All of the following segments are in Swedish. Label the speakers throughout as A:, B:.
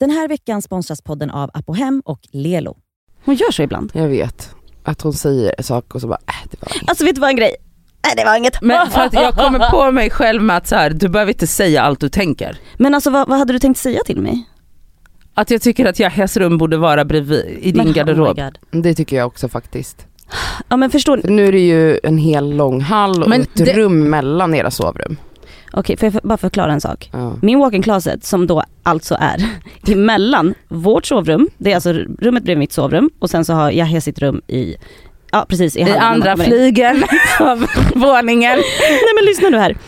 A: Den här veckan sponsras podden av Apohem och Lelo.
B: Hon gör så ibland.
C: Jag vet. Att hon säger saker och så bara, äh, det var inget.
A: Alltså vet du vad en grej? Nej det var inget.
D: Men för att jag kommer på mig själv med att så här, du behöver inte säga allt du tänker.
B: Men alltså vad, vad hade du tänkt säga till mig?
D: Att jag tycker att Yahyas rum borde vara bredvid, i din
A: Men, oh
D: garderob.
A: my God.
C: Det tycker jag också faktiskt.
B: Ja men förstår ni?
C: För nu är det ju en hel lång hall och
D: Men
C: ett
D: det-
C: rum mellan era sovrum.
B: Okej, får jag f- bara förklara en sak?
C: Ja.
B: Min walk-in closet som då alltså är emellan vårt sovrum, det är alltså rummet bredvid mitt sovrum och sen så har Yahya sitt rum i, ja precis i,
D: I
B: hallen när man
D: andra
B: kommer in.
D: flygeln av våningen.
B: Nej men lyssna nu här.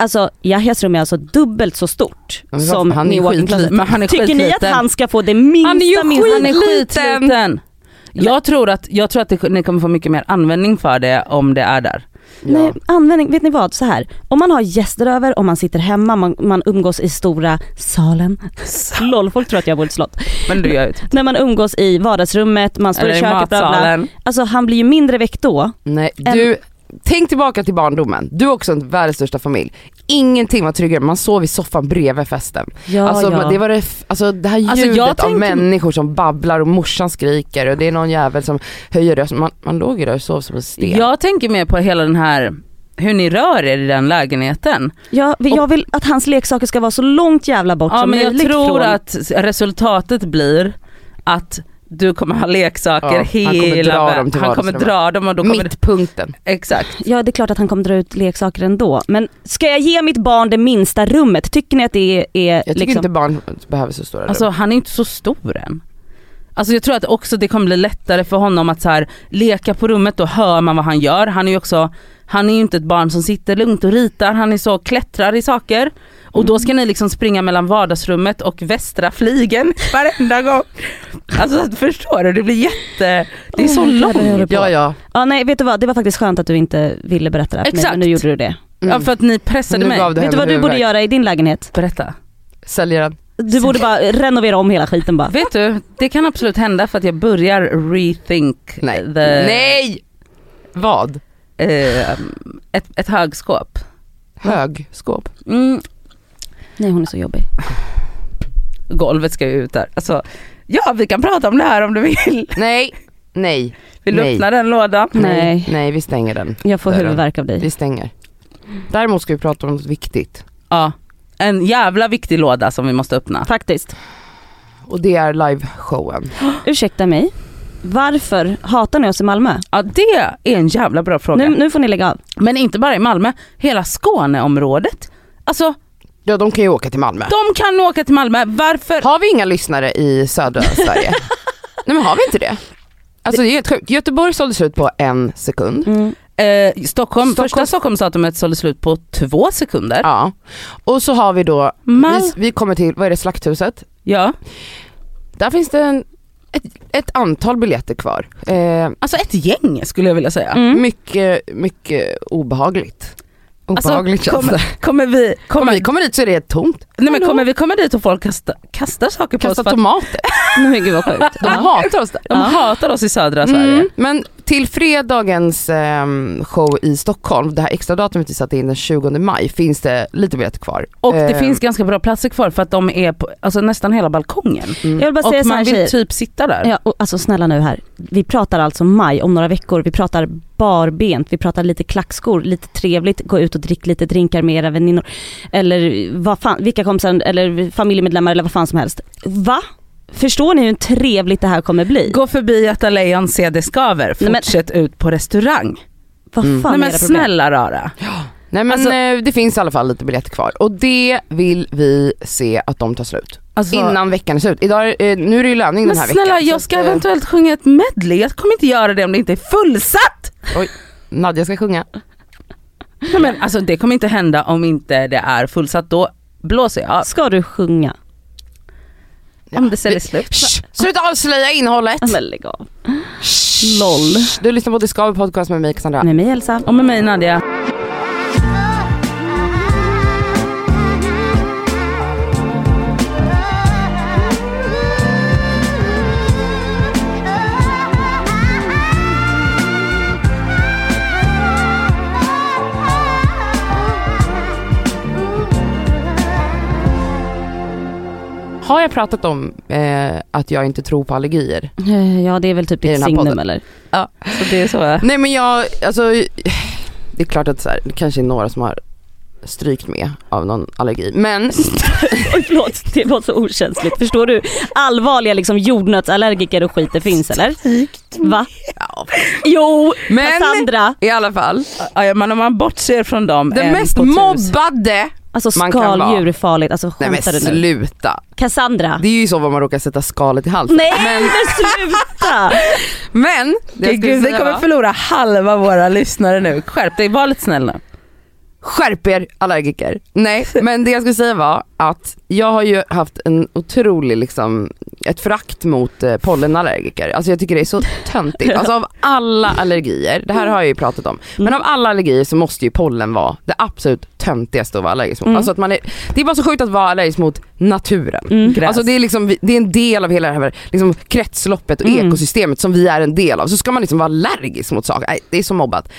B: Alltså Yahyas rum är alltså dubbelt så stort
C: Ja, men vad-
B: som
C: han är
B: min walk-in closet.
D: Men han är
B: Tycker ni att
D: skitliten.
B: han ska få det minsta
D: Han är ju
B: minsta?
D: han är skitliten. Jag tror att, jag tror att det, ni kommer få mycket mer användning för det om det är där.
B: Nej, Eh, användning, vet ni vad? Så här. Om man har gäster över, om man sitter hemma, man, man umgås i stora salen. Lol, folk tror att jag bor i ett slott.
D: Men du gör ju typ-
B: När man umgås i vardagsrummet, man står
D: Eller
B: i
D: i
B: köket, bla bla.
D: matsalen.
B: Alltså han blir ju mindre väck då.
C: Nej,
B: En-
C: du, tänk tillbaka till barndomen. Du är också en världens största familj. Ingenting var tryggare, man sov i soffan bredvid festen.
B: Ja,
C: alltså,
B: ja.
C: Det var det, f- alltså det här
D: Alltså,
C: ljudet
D: jag
C: av
D: tänkte-
C: människor som babblar och morsan skriker och det är någon jävel som höjer rösten. Man, man låg ju där och sov som en sten.
D: Jag tänker mer på hela den här, hur ni rör er i den lägenheten.
B: Ja, vi- jag vill att hans leksaker ska vara så långt jävla bort
D: Ja
B: som
D: men jag
B: möjligt
D: tror
B: från...
D: att resultatet blir att du kommer ha leksaker
C: Ja, han
D: hela
C: kommer dra
D: vä-
C: dem till
D: Han kommer
C: vardagsrummet.
D: dra dem och då kommer det,
C: Mittpunkten.
D: exakt.
B: Ja det är klart att han kommer dra ut leksaker ändå. Men ska jag ge mitt barn det minsta rummet? Tycker ni att det är... är
C: Jag tycker
B: liksom...
C: inte barn behöver så stora
D: Alltså
C: rum.
D: han är inte så stor än. Alltså jag tror att också det kommer bli lättare för honom att så här, leka på rummet, då hör man vad han gör. Han är ju också, han är ju inte ett barn som sitter lugnt och ritar, han är så klättrar i saker. Och då ska ni liksom springa mellan vardagsrummet och västra flygen varenda gång. Alltså att- förstår du, det blir jätte, det är så
B: Oh my God,
D: långt.
B: jag håller på.
C: Ja ja,
B: Ja nej vet du vad, det var faktiskt skönt att du inte ville berätta det här för mig,
D: Exakt.
B: men nu gjorde du det.
D: Ja för att ni pressade
C: Nu
D: mig.
C: gav Mm. du-
B: Vet du vad du borde
C: huvudvärk.
B: göra i din lägenhet?
D: Berätta.
C: säljer den.
B: Du borde bara renovera om hela skiten bara.
D: Vet du, det kan absolut hända för att jag börjar rethink
C: Nej.
D: the,
C: Nej! Vad?
D: eh, ett, ett högskåp.
C: Högskåp.
D: Mm,
B: Nej hon är så jobbig.
D: golvet ska ju ut där. Alltså, ja vi kan prata om det här om du vill.
C: Nej, nej,
D: Vill du
C: Nej.
D: öppna den lådan?
B: Nej.
C: nej vi stänger den.
B: Jag får
C: Där är den.
B: huvudvärk av dig.
C: Vi stänger. Däremot ska vi prata om något viktigt.
D: Ja. En jävla viktig låda som vi måste öppna.
B: Faktiskt.
C: Och det är liveshowen.
B: Ursäkta mig. Varför hatar ni oss i Malmö?
D: Ja det är en jävla bra fråga.
B: Nu, nu får ni lägga av.
D: Men inte bara i Malmö, hela Skåneområdet. Alltså
C: Ja de kan ju åka till Malmö.
D: de kan åka till Malmö, varför?
C: Har vi inga lyssnare i södra Sverige? Nej men har vi inte det? Alltså det är helt sjukt. Göteborg sålde slut på en sekund.
B: Mm.
D: Eh, Stockholm, första
C: Stockholm-
D: Stockholmsdatumet sålde slut på två sekunder.
C: Ja. Och så har vi då,
D: Mal-
C: vi, vi kommer till, vad är det, Slakthuset?
D: Ja.
C: Där finns det en, ett, ett antal biljetter kvar. Eh,
D: Alltså ett gäng skulle jag vilja säga.
C: Mm,
B: Mm.
C: Mycket, mycket obehagligt. Obehagligt
D: alltså,
C: känns
D: kommer,
C: det.
D: kommer, vi,
C: Om
D: kommer,
C: vi kommer dit så är det helt tomt.
D: nej, men
C: Hallå?
D: kommer vi komma dit och folk kasta, kastar saker på
C: Kasta
D: oss? för att-
C: tomater.
B: Nej men gud vad sjukt.
C: De hatar oss där.
D: De hatar oss i södra Sverige.
C: Mm, men till fredagens ehm, show i Stockholm, det här extra datumet vi satte in den 20 maj, finns det lite biljetter kvar.
D: Och det
C: Eh,
D: finns ganska bra platser kvar för att de är på alltså, nästan hela balkongen.
C: mm.
B: Jag vill bara säga
D: Och
B: så här
D: man vill
B: tjejer.
D: typ sitta där.
B: Ja, och, alltså snälla nu här. Vi pratar alltså maj om några veckor. Vi pratar barbent, vi pratar lite klackskor, lite trevligt, gå ut och drick lite drinkar med era väninnor. Eller vad fan, vilka kompisar eller familjemedlemmar eller vad fan som helst. Va? Förstår ni hur trevligt det här kommer bli?
D: Gå förbi Göta Lejon, se det skaver,
B: Nej, men-
D: fortsätt ut på restaurang.
B: Vad fan
D: Nej
B: är
D: men
B: era problem?
D: snälla rara.
C: Nej men
D: Alltså-
C: eh, det finns i alla fall lite biljetter kvar och det vill vi se att de tar slut.
D: Alltså-
C: Innan veckan är slut. Idag, är- eh, nu är det ju löning
D: Men
C: den här
D: snälla
C: veckan. så
D: jag
C: att,
D: ska
C: eh,
D: eventuellt sjunga ett medley, jag kommer inte göra det om det inte är fullsatt.
C: Oj, Nadja ska sjunga.
D: Nej, men alltså det kommer inte hända om inte det är fullsatt, då blåser jag av.
B: Ska du sjunga?
D: Om det säljer slut.
C: Shh, sluta avslöja innehållet!
B: Men lägg av.
C: Shh.
B: Loll.
C: Du lyssnar på Discover Podcast med mig Cassandra.
B: Med mig Elsa.
D: Och med mig Nadia.
C: Har jag pratat om eh, att jag inte tror på allergier.
B: Eh, Ja det är väl typ
C: I
B: ditt
C: den här
B: signum
C: podden.
B: eller?
D: Så det är så jag
C: Nej men jag, alltså det är klart att så här, det kanske är några som har strykt med av någon allergi. Men
B: Oj förlåt, det var så okänsligt. Förstår du? Allvarliga liksom jordnötsallergiker och skit det finns eller? Va?
C: ja,
B: Jo,
D: Men
B: Cassandra.
C: i alla fall,
D: Ja, men om man bortser från dem.
C: den
D: en
C: mest
D: på tusen.
C: mobbade,
B: Alltså
C: Man kan
B: skaldjur är farligt, alltså
C: nej men
B: skämtar du nu?
C: sluta.
B: Cassandra.
C: Det är ju så vad man råkar sätta skalet i halsen.
B: Nej men, sluta!
C: Men, det jag skulle
D: Gud, vi
C: säga
D: kommer
C: var,
D: förlora halva våra lyssnare nu. Skärp dig, var lite snäll nu.
C: skärp er allergiker. Nej men det jag skulle säga var att jag har ju haft en otrolig liksom, ett förakt mot eh, pollenallergiker. Alltså jag tycker det är så töntigt. Alltså av alla allergier, det här har jag ju pratat om, men av alla allergier så måste ju pollen vara det absolut töntigaste att vara allergisk mot.
B: Mm.
C: Alltså att man är, det är bara så sjukt att vara allergisk mot naturen.
B: Mm.
D: Gräs.
C: Alltså det är, liksom, det är en del av hela det här liksom, kretsloppet och
B: Mm.
C: ekosystemet som vi är en del av. Så ska man liksom vara allergisk mot saker. Nej, det är så mobbat.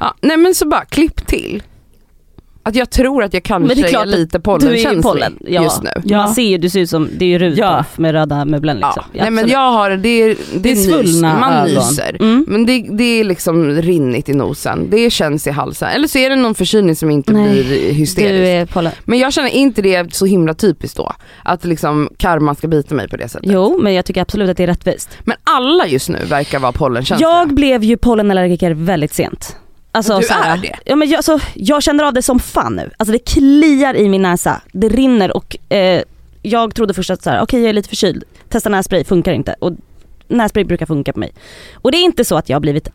C: Ja, nej men så bara klipp till. Att jag tror att jag kanske
B: Men det är klart
C: är lite
B: Du är ju
C: pollenkänslig
B: pollen ja.
C: just nu.
B: Ja. Man ser ju, du ser ut som, det är ju Rudolf med röda möblen
C: Ja.
B: liksom.
C: nej men jag har, det är, det
D: Det
C: är
D: är
C: nys,
D: svullna
C: man
D: ögon.
C: nyser.
B: Mm.
C: Men det, det är liksom rinnigt i nosen, det känns i halsen. Eller så är det någon förkylning som inte
B: Nej,
C: blir hysterisk.
B: Du är pollen.
C: Men jag känner inte det så himla typiskt då, att liksom karman ska bita mig på det sättet.
B: Jo men jag tycker absolut att det är rättvist.
C: Men alla just nu verkar vara pollenkänsliga.
B: Jag blev ju pollenallergiker väldigt sent. Alltså,
C: Du
B: så här-
C: är det?
B: Ja, men jag, alltså, jag känner av det som fan nu. Alltså det kliar i min näsa, det rinner och eh, jag trodde först att så här, okej jag är lite förkyld, testa nässpray, funkar inte. Och nässpray brukar funka på mig. Och det är inte så att jag har blivit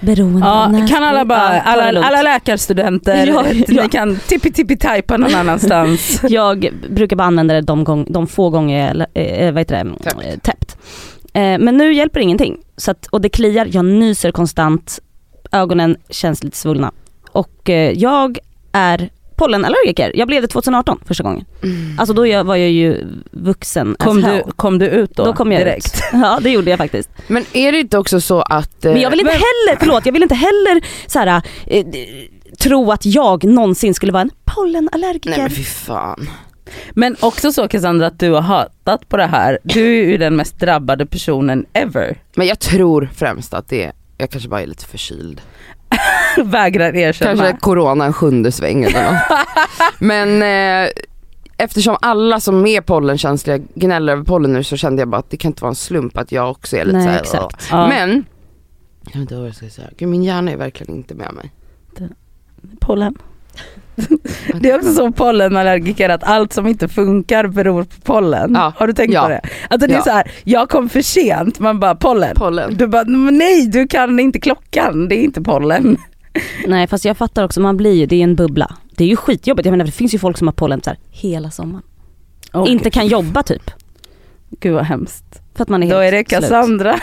B: beroende
D: Ja,
B: av nässpray.
D: kan alla bara,
B: Ja, ta det
D: alla,
B: lugnt.
D: alla läkarstudenter,
B: Ja, ja.
D: ni kan tippi-tippi-tajpa någon annanstans.
B: Jag brukar bara använda det de, gång, de få gånger jag eh, eh, vad heter det,
C: Täppt.
B: eh, täppt. Eh, men nu hjälper ingenting. Så att, och det kliar, jag nyser konstant, ögonen känns lite svullna. Och eh, jag är pollenallergiker. Jag blev det 2018 första gången.
C: Mm.
B: Alltså då jag, var jag ju vuxen as
D: Kom du,
B: hell.
D: kom du ut då?
B: Då kom jag
D: direkt.
B: ut. Ja det gjorde jag faktiskt.
C: Men är det inte också så att... eh,
B: Men jag vill inte heller, förlåt, jag vill inte heller så här, eh, d- tro att jag någonsin skulle vara en pollenallergiker.
C: Nej men fy fan.
D: Men också så Cassandra att du har hatat på det här. Du är ju den mest drabbade personen ever.
C: Men jag tror främst att det är, jag kanske bara är lite förkyld.
D: Vägrar erkänna.
C: Kanske corona en sjunde sväng eller något. Men eh, eftersom alla som är pollenkänsliga gnäller över pollen nu så kände jag bara att det kan inte vara en slump att jag också är lite
B: Nej,
C: såhär.
B: exakt.
D: Ja,
C: Men, jag vet inte vad jag ska säga. Gud min hjärna är verkligen inte med mig.
D: pollen. Det är också så pollenallergiker att allt som inte funkar beror på pollen.
C: Ja.
D: Har du tänkt
C: Ja.
D: på det? Alltså det är
C: Ja.
D: så här, jag kom för sent, man bara pollen.
C: Pollen.
D: Du bara "Men nej du kan inte klockan, det är inte pollen.
B: Nej fast jag fattar också, man blir ju, det är en bubbla. Det är ju skitjobbigt, jag menar det finns ju folk som har pollen så här, hela sommaren. Inte kan jobba typ.
D: Gud vad hemskt.
B: För att man är
D: Då
B: helt
D: är det
B: slut.
D: Cassandra.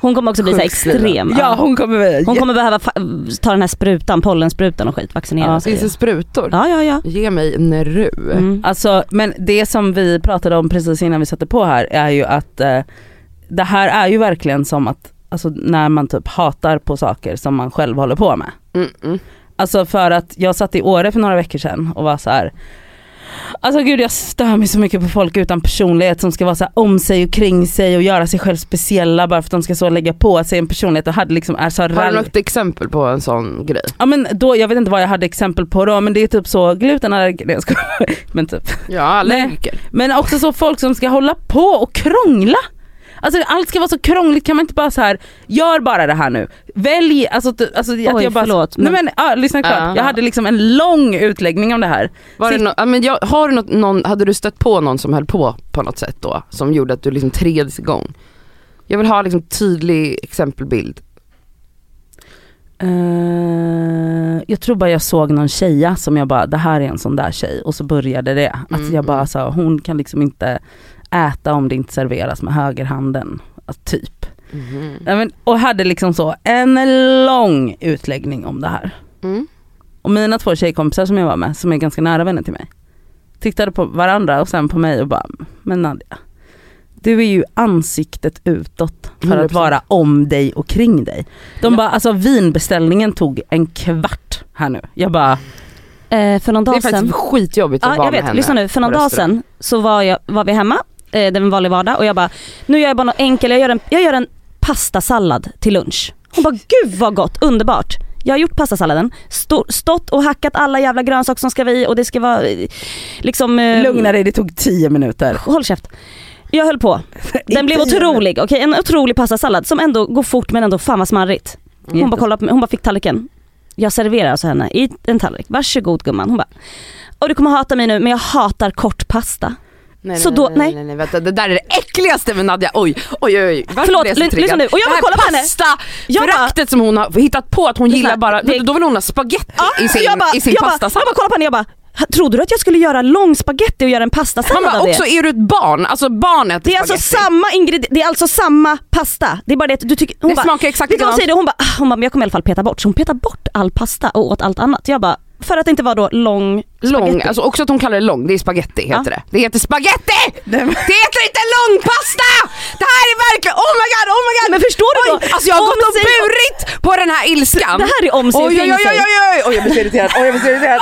B: Hon kommer också bli så här
C: Sjukskriven.
B: extrem.
D: Ja hon kommer bli
B: Hon kommer behöva fa- ta den här sprutan, pollensprutan och skit, vaccinera
D: Ja,
B: sig.
C: Finns det sprutor?
B: Ja ja ja.
C: Ge mig Neru.
B: Mm.
D: Alltså, men det som vi pratade om precis innan vi satte på här är ju att eh, det här är ju verkligen som att alltså, när man typ hatar på saker som man själv håller på med.
C: Mm, mm.
D: Alltså för att jag satt i Åre för några veckor sedan och var så här. Alltså gud jag stör mig så mycket på folk utan personlighet som ska vara så här om sig och kring sig och göra sig själv speciella bara för att de ska så lägga på sig en personlighet och hade liksom är så här
C: Har
D: rall-
C: du något exempel på en sån grej?
D: Ja men då, jag vet inte vad jag hade exempel på då men det är typ så glutenallergi, nej jag skojar. men typ
C: Ja, allergiker.
D: Men också så folk som ska hålla på och krångla. Alltså allt ska vara så krångligt, kan man inte bara så här gör bara det här nu. Välj, alltså, t- alltså
B: Oj,
D: att jag bara...
B: förlåt,
D: Nej
B: men-
D: men ja, lyssna klart.
C: Ja.
D: Jag hade liksom en lång utläggning om det här.
C: Var det
D: Sitt-
C: nå- ja, men jag, har du något, någon, hade du stött på någon som höll på på något sätt då? Som gjorde att du liksom treds igång? Jag vill ha liksom tydlig exempelbild.
D: Eh, jag tror bara jag såg någon tjeja som jag bara, det här är en sån där tjej. Och så började det. Att
C: Mm,
D: jag bara
C: mm.
D: sa, hon kan liksom inte äta om det inte serveras med högerhanden. Alltså, typ.
C: Mm. Mm-hmm.
D: Ja, men, och hade liksom så en lång utläggning om det här.
C: Mm.
D: Och mina två tjejkompisar som jag var med, som är ganska nära vänner till mig, tittade på varandra och sen på mig och bara, men Nadja, du är ju ansiktet utåt för att
C: 100%.
D: vara om dig och kring dig. De bara, alltså vinbeställningen tog en kvart här nu. Jag bara,
B: eh, för någon
C: Det är
B: dag sedan.
C: faktiskt skitjobbigt att
B: Ja,
C: vara
B: jag
C: med
B: vet.
C: henne.
B: Lyssna nu. För någon
C: på
B: dag
C: restaurang.
B: sedan så var, jag, var vi hemma, eh, det var en vanlig vardag och jag bara, nu gör jag bara något enkelt, jag gör en, jag gör en pastasallad till lunch. Hon bara, gud vad gott, underbart. Jag har gjort pastasalladen, stå, stått och hackat alla jävla grönsaker som ska vara i och det ska vara eh, liksom...
D: "Ehm,
B: eh,
E: Lugna dig, det tog tio minuter.
B: Håll käft. Jag höll på. Den blev
E: Inte-
B: otrolig, okej en otrolig pastasallad som ändå går fort men ändå fan vad smarrigt. Hon bara, kollade på mig, hon bara fick tallriken. Jag serverar alltså henne i en tallrik. Varsågod gumman. Hon bara, och du kommer hata mig nu men jag hatar kortpasta.
C: Nej,
B: Så
C: nej,
B: då-
C: nej, nej. nej, nej, vänta. Det där är det äckligaste med Nadja. Oj, oj, oj. oj. Varför
B: Förlåt,
C: blev jag så
B: ly-
C: triggad?
B: lyssna nu. Och jag
C: det
B: bara
C: här
B: kollar på henne. Jag bara-
C: pastaföraktet som hon har hittat på att hon
B: Lyssna,
C: gillar bara,
B: det-
C: då vill hon ha spagetti i sin,
B: Ah, jag bara,
C: i sin
B: jag bara, jag
C: pastasallad.
B: bara kollade på henne jag bara, trodde du att jag skulle göra lång spaghetti och göra en pastasallad
C: Man bara,
B: av det?
C: också är du ett barn, alltså barn äter
B: Det är, alltså
C: spagetti.
B: samma ingred- det är alltså samma pasta. Det är bara det att du tycker... Hon
C: Det
B: bara,
C: smakar exakt
B: vet du vad hon
C: likadant.
B: säger? då? Hon bara, ah, hon bara, men jag kommer i alla fall peta bort. Så hon petar bort all pasta och åt allt annat. Jag bara, för att det inte var då lång
C: Lång,
B: spagetti.
C: alltså också att hon kallar det lång, det är spagetti heter det. Det heter spagetti!
E: Nej, men-
C: Det heter inte långpasta! Det här är verkligen, oh my god, oh my god!
B: Men förstår du då?
C: Alltså jag har
B: Om
C: gått och
B: sig-
C: burit på den här ilskan.
B: Det här är om sig och
E: Oj, oj,
B: kring
E: oj, oj,
B: sig.
E: oj, oj, jag blir så irriterad. Oj, jag blir så irriterad.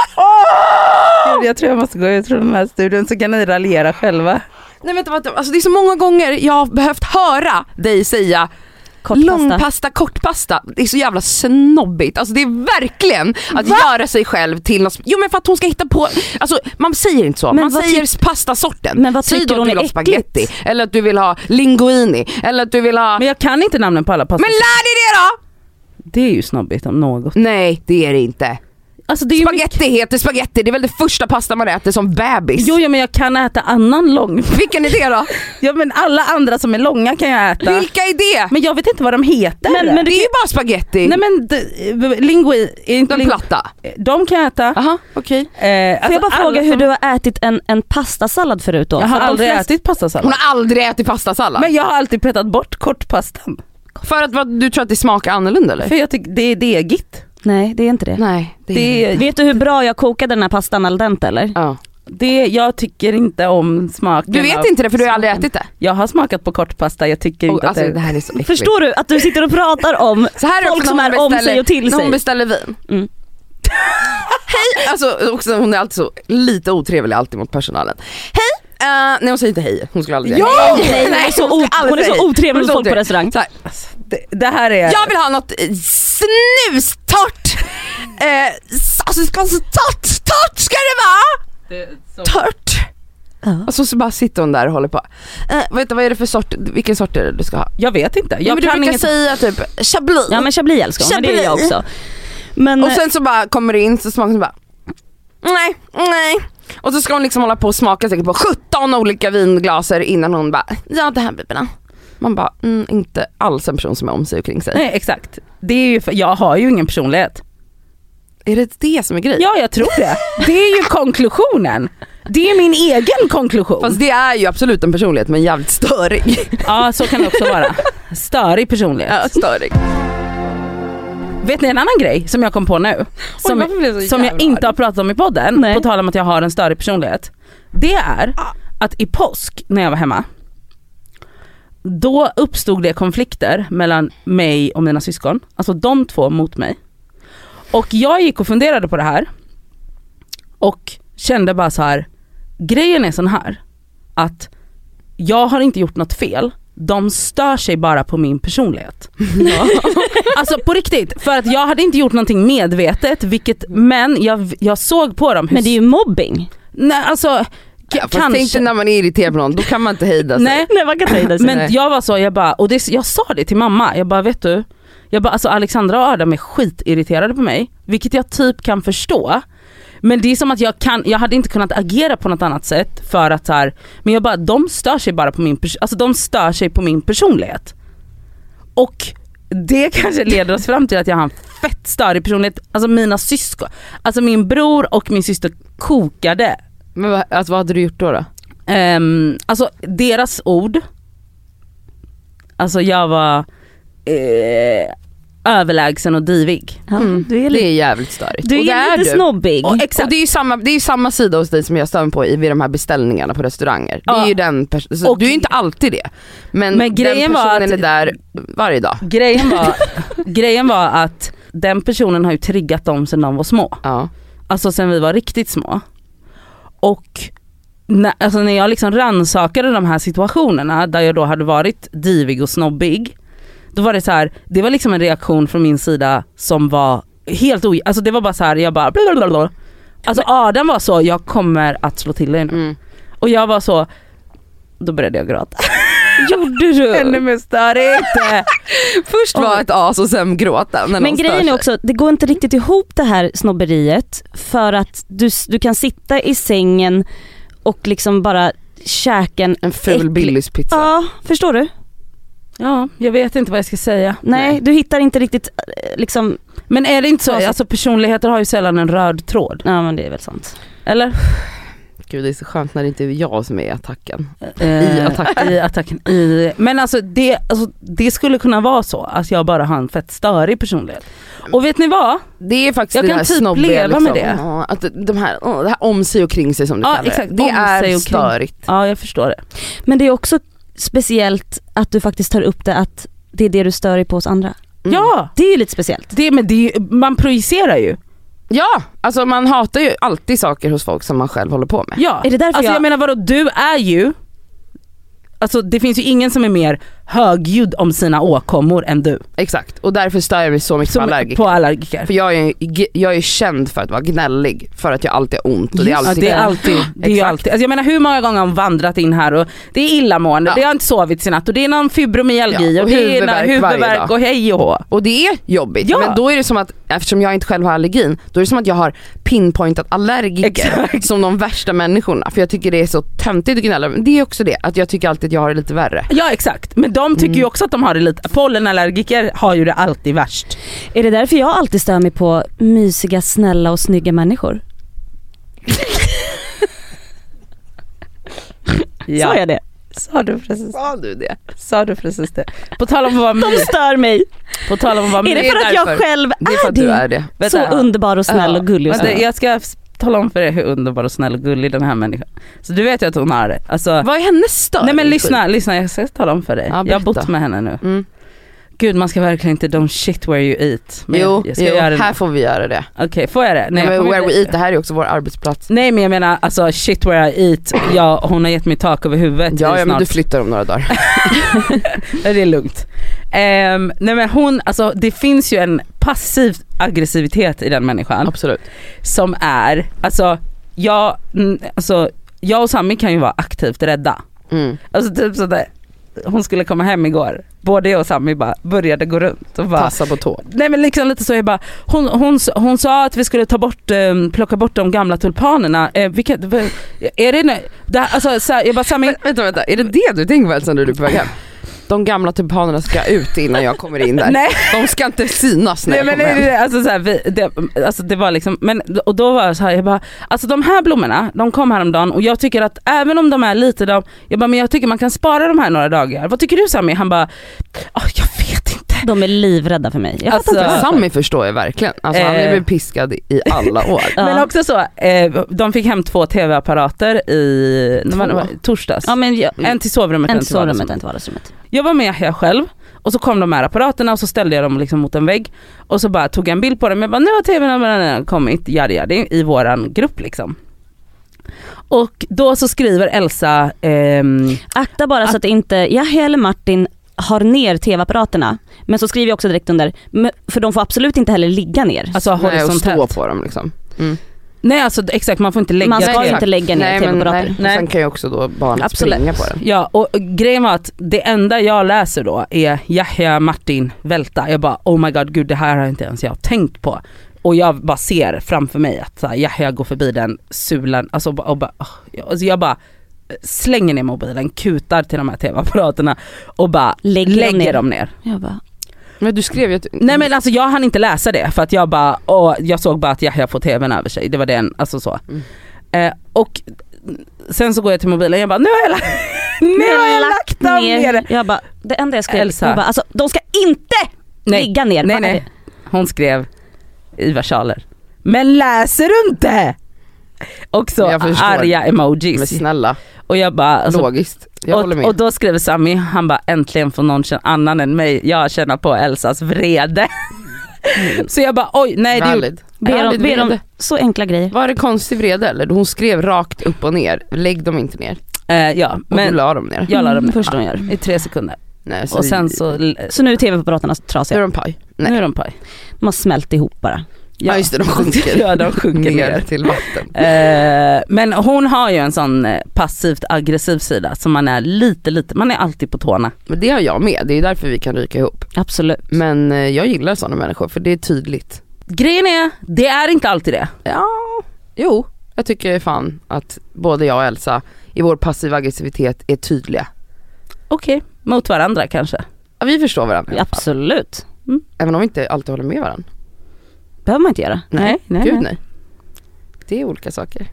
E: Åh! Jag tror jag måste gå, jag tror den här studion så kan ni raljera själva.
C: Nej vänta, vänta, alltså det är så många gånger jag har behövt höra dig säga
B: Kortpasta.
C: Långpasta, kortpasta. Det är så jävla snobbigt. Alltså det är verkligen att göra sig själv till något. Jo men för att hon ska hitta på, alltså man säger inte så.
B: Men
C: man
B: vad
C: säger pastasorten.
B: Men vad
C: Säg
B: tycker
C: då att
B: hon
C: du
B: är
C: vill ha
B: äckligt?
C: spagetti eller att du vill ha linguini eller att du vill ha...
D: Men jag kan inte namnen på alla pastor.
C: Men lär dig det då!
D: Det är ju snobbigt om något.
C: Nej det är det inte.
D: Alltså det är ju mycket-
C: Spaghetti heter spaghetti, det är väl det första pasta man äter som bebis.
D: Jo, ja, men jag kan äta annan lång.
C: Vilken är det då?
D: Ja men alla andra som är långa kan jag äta.
C: Vilka är det?
D: Men jag vet inte vad de heter.
B: Men- men
C: det är ju bara spaghetti.
D: Nej men d- lingui, är inte
C: Den
D: ling-
C: platta.
D: de kan jag äta.
C: Aha, okej.
D: Eh, alltså
B: Får jag bara
D: alla
B: fråga hur
D: som-
B: du har ätit en, en pastasallad förut då?
D: Jag har
B: För att de
D: aldrig
B: flesta-
D: ätit pastasallad.
C: Hon har aldrig ätit pastasallad.
D: Men jag har alltid petat bort kortpastan.
C: För att vad, du tror att det smakar annorlunda eller?
D: För jag tycker det är degigt.
B: Nej det är inte det.
C: Nej. Det,
D: Det är,
B: Vet du hur bra jag kokade den här pastan al dente eller?
C: Ja.
D: det, jag tycker inte om smaken
C: Du vet
D: av-
C: inte det för du har aldrig ätit det.
D: Jag har smakat på kortpasta, jag tycker
C: Och,
D: inte
C: alltså,
D: att
C: det
D: det...
C: här är så äckligt.
B: Förstår du att du sitter och pratar om
C: Så här är det
B: folk
C: också
B: som
C: när
B: är
C: hon
B: om
C: beställer-
B: sig och till
C: När hon
B: sig?
C: beställer vin.
B: Mm.
C: Hej! Alltså också, hon är alltid så lite otrevlig alltid mot personalen. Hej! Eh, nej hon säger inte hej, hon skulle aldrig säga hej.
B: Nej, hon är så
C: hon skulle
B: o-
C: aldrig
B: hon är
C: säga
B: så
C: hej.
B: otrevlig
C: Hon är
B: mot
C: så
B: folk på
C: otrevlig.
B: restaurang.
C: Så här,
E: Det, det här är...
C: Jag vill ha något eh, snustort! Eh, s- alltså det ska vara så torrt, torrt ska det vara! Tört!
B: Ja.
C: Och så, så bara sitter hon där och håller på. Eh, vet du, vad är det för sort, vilken sort är det du ska ha?
D: Jag vet inte.
C: Ja,
D: Jag
C: men du
D: kan
C: brukar
D: inget...
C: säga typ chablis.
B: Ja men chablis älskar hon, men det är jag
C: Chablis.
B: också. Men,
C: och sen så bara kommer det in så smakar hon bara nej, nej. Och så ska hon liksom hålla på och smaka säkert på 17 olika vinglaser innan hon bara ja det här blir bra. Man bara mm, inte alls en person som är om sig och kring sig.
D: Nej exakt. Det är ju för... Jag har ju ingen personlighet.
C: Är det det som är grejen?
D: Ja jag tror det. Det är ju konklusionen. Det är min egen konklusion.
C: Fast det är ju absolut en personlighet men jävligt störig.
D: Ja så kan det också vara. Störig personlighet.
C: Ja, störig.
D: Vet ni en annan grej som jag kom på nu? Som,
C: varför blev jag så
D: som jag
C: jävla
D: inte
C: arg?
D: har pratat om i podden,
B: Nej.
D: på tal om att jag har en störig personlighet. Det är
C: Ah.
D: att i påsk när jag var hemma, då uppstod det konflikter mellan mig och mina syskon. Alltså de två mot mig. Och jag gick och funderade på det här och kände bara så här. grejen är sån här att jag har inte gjort något fel, de stör sig bara på min personlighet. alltså på riktigt, för att jag hade inte gjort någonting medvetet, vilket, men jag, jag såg på dem hur...
B: men det är ju mobbing.
D: nej, alltså, k-
C: Fast
D: kanske.
C: tänk dig när man är irriterad på någon, då kan man inte hejda sig.
D: Nej,
B: Nej man kan ta i det
D: men jag var så, jag bara, och det, jag sa det till mamma, jag bara vet du, jag bara alltså Alexandra och Adam är skitirriterade på mig, vilket jag typ kan förstå. Men det är som att jag kan, jag hade inte kunnat agera på något annat sätt för att så här, men jag bara de stör sig bara på min, pers- alltså de stör sig på min personlighet. Och det kanske leder oss fram till att jag har en fett störig personlighet, alltså mina syskon, alltså min bror och min syster kokade
C: Men vad- alltså, vad hade du gjort då? då?
D: Ehm, alltså deras ord, alltså jag var eh, överlägsen och divig.
B: Ja, du är,
C: Det
B: li-
C: är jävligt störigt.
B: du
C: Och Mm. det
B: är lite
C: du.
B: snobbig.
C: Och, och det är ju samma, det är ju samma sida hos dig som jag stör mig på i, vid de här beställningarna på restauranger. Det
D: Ja.
C: är ju den pers- så
D: Och-
C: du är ju inte alltid det. Men,
D: Men grejen
C: den
D: var
C: personen
D: att-
C: är där varje dag.
D: Grejen var, grejen var att den personen har ju triggat dem sedan de var små.
C: Ja.
D: alltså sen vi var riktigt små. Och när, alltså när jag liksom rannsakade de här situationerna där jag då hade varit divig och snobbig, då var det så här, det var liksom en reaktion från min sida som var helt o... Alltså det var bara så här, jag bara blablabla. Alltså Adam var så, jag kommer att slå till dig nu.
C: Mm.
D: Och jag var så, då började jag gråta.
B: Gjorde du?
D: mer störigt.
C: Först var ett as och sen gråta när
B: Men
C: någon stör
B: grejen är
C: sig.
B: också, det går inte riktigt ihop det här snobberiet för att du, s- du kan sitta i sängen och liksom bara käka en
C: En ful
B: äcklig-
C: Billys-pizza.
B: Ja, förstår du?
D: ja, jag vet inte vad jag ska säga.
B: Nej, du hittar inte riktigt eh, liksom,
D: Men är det inte så,
B: Alltså-
D: alltså personligheter har ju sällan en röd tråd.
B: ja men det är väl sant.
D: Eller?
C: Gud det är så skönt när det inte är jag som är i attacken.
D: I
C: attacken.
D: I attacken. I, men alltså det, alltså det skulle kunna vara så att jag bara har en fett störig personlighet. Och vet ni vad?
C: Det är faktiskt
D: Jag
C: det
D: kan
C: här
D: typ
C: snobbiga,
D: leva
C: liksom,
D: med det.
C: ja, Att de här, ja, det här om sig och kring sig som du
D: Ja,
C: kallar det.
D: exakt.
C: Det
D: Om
C: är
D: sig och kring.
C: störigt.
D: Ja jag förstår det.
B: Men det är också speciellt att du faktiskt tar upp det att det är det du stör dig på hos andra.
C: Mm.
D: Ja!
B: Det är ju lite speciellt.
D: Det, men det, är ju- man projicerar ju.
C: Ja, alltså man hatar ju alltid saker hos folk som man själv håller på med.
D: Ja.
B: Är det därför
D: alltså, jag...
B: jag-
D: menar vadå, du är ju, alltså det finns ju ingen som är mer högljudd om sina åkommor än du.
C: Exakt, och därför stör jag mig så mycket
D: Som,
C: på allergiker.
D: På allergiker.
C: För jag är, jag är känd för att vara gnällig, för att jag alltid har ont och det är
D: Just
C: alltid
D: det, är alltid, det är ju
C: Exakt.
D: alltid. Alltså jag menar hur många gånger har hon vandrat in här och det är illamående,
C: Ja.
D: det har inte sovit i natt och det är någon fibromyalgi
C: Ja,
D: och,
C: och
D: det är
C: huvudvärk varje
D: huvudvärk
C: dag.
D: och hej och hå.
C: Och det är jobbigt.
D: Ja.
C: Men då är det som att, eftersom jag inte själv har allergin, då är det som att jag har pinpointat allergiker
D: Exakt.
C: som de värsta människorna. För jag tycker det är så töntigt att gnälla. Men det är också det, att jag tycker alltid att jag har det lite värre.
D: Ja exakt, men de tycker ju också att de har det lite, pollenallergiker har ju det alltid värst.
B: Är det därför jag alltid stör mig på mysiga, snälla och snygga människor?
D: Ja.
B: Sa jag det?
F: Sa du precis,
C: Sa du det?
F: sa du precis det?
D: På tal om att vara
B: De
C: Mm.
D: my-
B: stör mig.
D: på tal om att vara Ah,
B: är
D: my-
B: det för att jag
C: därför.
B: själv
C: Det är för
B: är
C: att du
B: det?
C: är det.
D: Vänta
B: Så
D: här.
B: underbar och snäll och gullig och
D: Vänta,
B: snäll.
D: Jag ska f- tala om för er hur underbar och snäll och gullig den här människan Så du vet ju att hon har det. Alltså,
C: Vad är hennes störning?
D: nej men lyssna, lyssna jag ska tala om för dig.
C: Ja,
D: jag har
C: berätta.
D: bott med henne nu.
C: Mm.
D: Gud man ska verkligen inte don't shit where you eat. Men
C: jo,
D: jag, jag ska
C: jo
D: göra det.
C: här
D: nu.
C: får vi göra det.
D: Okej får jag det?
C: Nej,
D: jag
C: men
D: kommer
C: where
D: inte-
C: we eat, det här är ju också vår arbetsplats.
D: Nej men jag menar alltså shit where I eat, ja, hon har gett mig tak över huvudet i
C: Ja, ja men
D: snart
C: du flyttar om några dagar.
D: Nej, det är lugnt. Ehm, nej men hon, alltså det finns ju en passiv aggressivitet i den människan
C: Absolut.
D: som är, alltså jag, mm, alltså, jag och Sami kan ju vara aktivt rädda.
C: Mm.
D: Alltså typ sådär, hon skulle komma hem igår, både jag och Sami bara började gå runt och bara
C: Passa på tå.
D: Nej men liksom lite så, jag bara, hon, hon, hon sa att vi skulle ta bort, eh, plocka bort de gamla tulpanerna. Eh, vi kan, v- är det, nu- det här, alltså, så här, jag bara Sami,
C: Men, vänta, vänta, är det det du tänker på Elsa när du är på väg hem? De gamla tulpanerna ska ut innan jag kommer in där.
D: nej
C: De ska inte synas när
D: Nej
C: jag
D: men
C: kommer
D: nej,
C: hem.
D: nej, nej, alltså, så här, vi, det, alltså det var liksom, men, och då var jag så här, jag bara, alltså de här blommorna, de kom häromdagen och jag tycker att även om de är lite, de, jag bara men jag tycker man kan spara de här några dagar. Vad tycker du Sami? Han bara, "Ah, jag vet inte.
B: De är livrädda för mig. Jag fattar
D: Alltså,
B: inte varför.
C: Sami förstår jag verkligen. Alltså, Han
D: Eh.
C: är väl piskad i alla år.
B: Ja.
D: Men också så, eh, de fick hem två tv-apparater i när var-
C: Två?
D: var- torsdags.
B: Ja men jag,
D: En till sovrummet
B: en till sovrummet,
D: vardagsrummet.
B: en till vardagsrummet.
D: Jag var med här själv och så kom de här apparaterna och så ställde jag dem liksom mot en vägg och så bara tog jag en bild på dem. Jag bara nu har tvn kommit, yadi yadi, i våran grupp liksom. Och då så skriver Elsa, ehm,
B: Akta bara så att inte Yahya eller Martin har ner tv-apparaterna. Men så skriver jag också direkt under, "Men- för de får absolut inte heller ligga ner.
D: alltså
C: Nej, och stå
D: horisontellt.
C: på dem liksom. Mm.
D: Nej alltså exakt man får inte lägga
B: Man ska
D: tv.
B: inte lägga ner
C: nej, men,
B: tv-apparater.
C: nej. Och
D: Nej.
C: Sen kan ju också då barnet
B: Absolut.
C: springa på den.
D: Ja och grejen var att det enda jag läser då är Yahya Martin välta. Jag bara oh my god gud det här har inte ens jag tänkt på. Och jag bara ser framför mig att så här, Yahya går förbi den sulan, alltså, och bara- och bara, oh. alltså jag bara slänger ner mobilen, kutar till de här tv-apparaterna och bara
B: Lägger
D: lägger,
B: de ner?
D: dem ner.
B: Jag bara,
C: Men du skrev ju att...
D: Nej men alltså jag hann inte läsa det för att jag bara, åh, jag såg bara att Yahya får tvn över sig. Det var den, alltså så.
C: Mm.
D: Eh, och sen så går jag till mobilen, jag bara nu har jag, la- nu har jag lagt dem ner.
B: Jag bara, det enda jag skrev,
D: Elsa.
B: jag bara, alltså de ska inte
D: Nej.
B: ligga ner.
D: Nej
B: Vad är
D: nej, hon skrev i versaler. Men läser du inte? Och så
C: Jag förstår.
D: arga
C: Men
D: emojis.
C: snälla,
D: Och jag bara, alltså,
C: logiskt. Jag håller
D: och,
C: med.
D: och då skriver Sami, han bara äntligen får någon känna- annan än mig, jag känner på Elsas vrede.
C: Mm.
D: Så jag bara oj, nej det gjorde
C: Valid.
B: Ber om,
C: Valid
B: ber om
C: vrede.
B: så enkla grejer.
C: Var det konstig vrede eller? Hon skrev rakt upp och ner, lägg dem inte ner.
D: eh, Ja,
C: Och du Mm.
D: men
C: la dem ner.
D: jag la dem ner.
B: Första de gör.
D: i tre sekunder.
C: Nej,
D: Och sen så,
B: Så nu är tv-apparaterna
C: Nu är
B: trasiga.
C: de paj. Nej.
D: nu är de paj.
B: De har smält ihop bara.
C: Ja. just det, de sjunker.
D: Ja, de sjunker ner.
C: till vatten.
D: Eh, men hon har ju en sån eh, passivt aggressiv sida som man är lite, lite, man är alltid på tårna.
C: Men det har jag med, det är därför vi kan ryka ihop.
B: Absolut.
C: Men eh, jag gillar sådana människor för det är tydligt.
D: Grejen är, det är inte alltid det.
C: Ja, jo. Jag tycker fan att både jag och Elsa i vår passiva aggressivitet är tydliga.
D: Okej, mot varandra kanske.
C: Ja, vi förstår varandra i alla fall.
B: Absolut.
C: Även om vi inte alltid håller med varandra.
B: behöver man inte göra.
D: Nej, nej,
C: Gud
D: nej.
C: nej. Det är olika saker.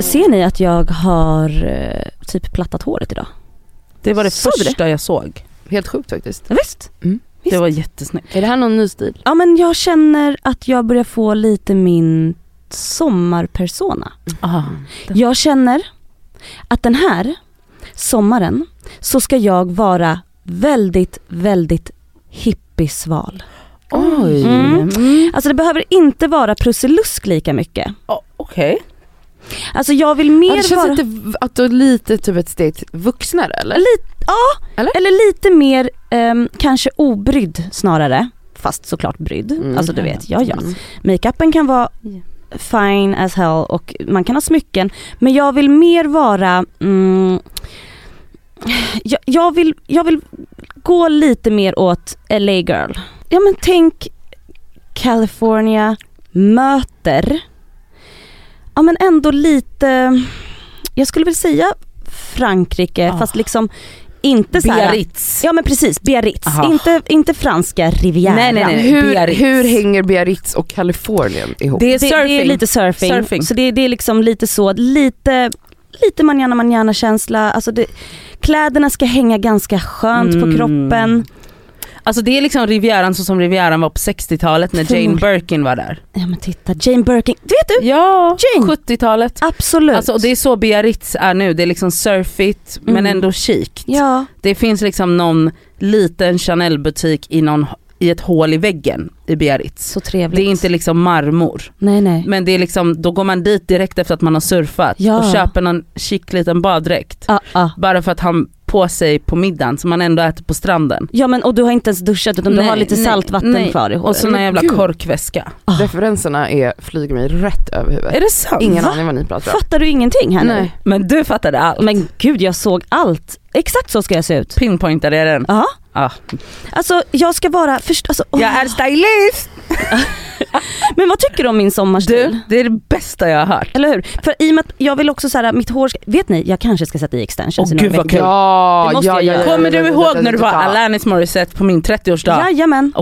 B: Ser ni att jag har eh, typ plattat håret idag?
D: Det var det
B: Såg du
D: första jag såg.
C: Helt sjukt faktiskt.
B: Ja, visst. Visst.
D: Det var jättesnyggt.
C: Är det här någon ny stil?
B: Ja men jag känner att jag börjar få lite min sommarpersona.
D: Ah.
B: Jag känner att den här sommaren så ska jag vara väldigt, väldigt hippiesval.
C: Oj.
B: Mm. Alltså det behöver inte vara prusselusk lika mycket.
D: Ah, Okej.
B: Alltså jag vill
C: Ja,
B: mer
C: det känns
B: vara...
C: inte v- att du är lite typ ett steg vuxnare eller?
B: Lite, ja,
C: Eller?
B: eller? lite mer ehm, kanske obrydd snarare. Fast såklart brydd.
C: Mm.
B: Alltså du vet, ja ja.
C: Mm.
B: Makeupen kan vara
D: Ja.
B: fine as hell och man kan ha smycken. Men jag vill mer vara, mm, jag, jag, vill, jag vill gå lite mer åt LA girl. Ja men tänk California möter, ja men ändå lite, jag skulle väl säga Frankrike
D: Ah.
B: fast liksom inte så här.
D: Biarritz.
B: Ja men precis, Biarritz.
D: Aha.
B: Inte, inte franska rivieran.
D: Nej, nej, nej.
C: Hur,
D: Biarritz.
C: hur hänger Biarritz och Kalifornien ihop?
D: Det är
B: Det,
D: surfing.
B: det är lite surfing.
D: Surfing.
B: Så det, det är liksom lite så, lite, lite manjana manjana känsla. Alltså det, kläderna ska hänga ganska skönt
D: Mm.
B: på kroppen.
D: Alltså det är liksom Rivieran så som Rivieran var på 60-talet när Jane
B: Förmodligen.
D: Birkin var där.
B: Ja men titta, Jane Birkin. Du vet du?
D: Ja,
B: Jane!
D: 70-talet.
B: Absolut.
D: Alltså och det är så Biarritz är nu, det är liksom surfigt men
B: Mm.
D: ändå chict.
B: Ja,
D: Det finns liksom någon liten Chanel-butik i, någon, i ett hål i väggen i Biarritz.
B: så trevligt.
D: Det är inte liksom marmor.
B: Nej nej.
D: Men det är liksom, då går man dit direkt efter att man har surfat
B: Ja.
D: och köper någon chic liten baddräkt.
B: Ah, ah.
D: Bara för att han på sig på middagen som man ändå äter på stranden.
B: Ja men och du har inte ens duschat utan
D: Nej,
B: du har lite
D: nej,
B: saltvatten
D: nej.
B: kvar i håret.
D: Och så någon
C: Men
D: jävla
C: gud.
D: korkväska.
B: Ah.
C: Referenserna är, flyger mig rätt över huvudet.
D: Är det sant?
C: Ingen
B: Va?
C: aning vad ni pratar om.
B: Fattar du ingenting här nu?
D: Men du fattade allt.
B: Men gud jag såg allt. Exakt så ska jag se ut.
D: Pinpointade jag den?
B: Ja.
D: Ah.
B: Alltså jag ska vara, först, alltså, åh.
D: Jag är stylist!
B: men vad tycker du om min sommarstil?
D: Du, det är det bästa jag har hört.
B: Eller hur? För i och med att jag vill också så här, mitt hår ska, vet ni, jag kanske ska sätta i extensions
D: Åh,
B: i några
D: gud, vad
B: veckor.
D: kul.
C: Ja,
B: Det måste
C: ja,
B: jag
C: ja,
B: göra.
C: ja,
D: Kommer
C: ja,
D: du
C: ja,
D: ihåg
C: ja,
D: när du
C: ja,
D: var
C: ja.
D: Alanis Morissette på min 30-årsdag?
B: Jajamän.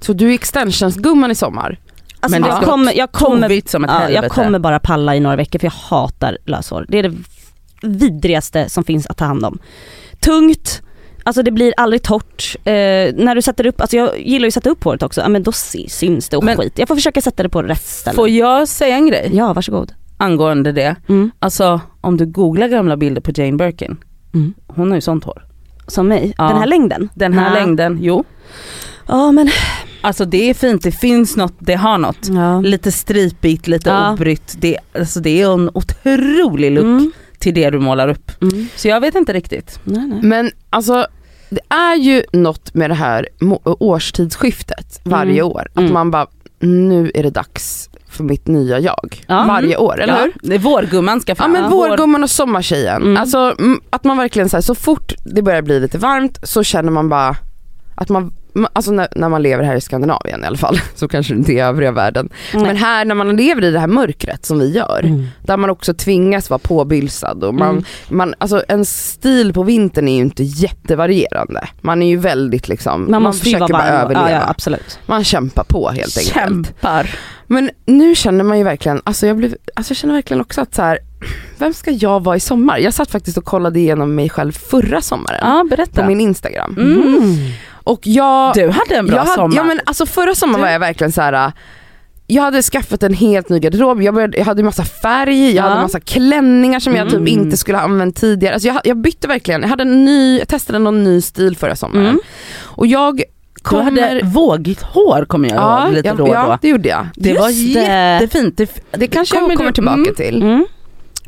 C: Så du är extensionsgumman i sommar?
B: Alltså, men
D: Men liksom, det
B: jag,
D: ska-
B: kommer, jag, kommer,
D: Tovigt som ett
B: ja,
D: helvete.
B: jag kommer bara palla i några veckor för jag hatar löshår. Det är det vidrigaste som finns att ta hand om. Tungt, alltså det blir aldrig torrt. Eh, när du sätter upp, alltså jag gillar ju att sätta upp håret också, ja, men då sy- syns det och
D: Men-
B: skit. Jag får försöka sätta det på rätt ställe.
D: Får jag säga en grej
B: Ja varsågod.
D: angående det?
B: Mm.
D: Alltså om du googlar gamla bilder på Jane Birkin,
B: Mm.
D: hon har ju sånt hår.
B: Som mig,
D: Ja.
B: den här längden.
D: Den här
B: Nej.
D: längden, jo.
B: Ja men,
D: Alltså det är fint, det finns något, det har något.
C: Mm.
B: ja.
D: Lite stripigt, lite
B: Ja.
D: obrytt. Det, alltså det är en otrolig look
B: Mm.
D: till det du målar upp.
B: Mm.
D: Så jag vet inte riktigt.
B: Nej, nej.
C: Men alltså det är ju något med det här må- årstidsskiftet varje
B: Mm.
C: år. Att
B: Mm.
C: man bara, nu är det dags för mitt nya jag.
B: Ja.
C: Varje år, eller hur?
D: ja. Det är vårgumman ska
C: Ja
D: fram.
C: men vårgumman och sommartjejen.
B: Mm.
C: Alltså mm, att man verkligen så, här, så fort det börjar bli lite varmt så känner man bara att man, ma- alltså när, när man lever här i Skandinavien i alla fall, så kanske inte i övriga världen.
B: Nej.
C: Men här när man lever i det här mörkret som vi gör,
B: Mm.
C: där man också tvingas vara påbylsad och man,
B: Mm.
C: man, alltså en stil på vintern är ju inte jättevarierande. Man är ju väldigt liksom,
B: Man, måste ju
C: försöker
B: vara
C: bara
B: varm.
C: överleva.
B: Ja, ja, absolut.
C: Man kämpar på helt enkelt.
D: Kämpar.
C: Men nu känner man ju verkligen, alltså jag, blev, alltså jag känner verkligen också att så här, vem ska jag vara i sommar? Jag satt faktiskt och kollade igenom mig själv förra sommaren
D: Ja
C: på
D: berätta.
C: min Instagram.
D: Mm.
C: Och jag,
D: Du hade en bra
C: jag hade,
D: sommar.
C: Ja men alltså förra sommaren
D: Du-
C: var jag verkligen så här. jag hade skaffat en helt ny garderob, jag, började, jag hade massa färg, jag
B: Ja.
C: hade massa klänningar som jag
B: Mm.
C: typ inte skulle ha använt tidigare. Alltså jag, jag bytte verkligen, jag, hade en ny, jag testade någon ny stil förra sommaren.
B: Mm.
C: Och jag
G: Du
C: kommer...
G: hade vågigt hår kommer jag ihåg lite
C: jag,
G: då och då.
C: ja det gjorde jag.
G: Det
B: Just
G: var
B: det.
G: jättefint. Det,
C: Det kanske jag kommer tillbaka
G: mm.
C: till.
B: Mm.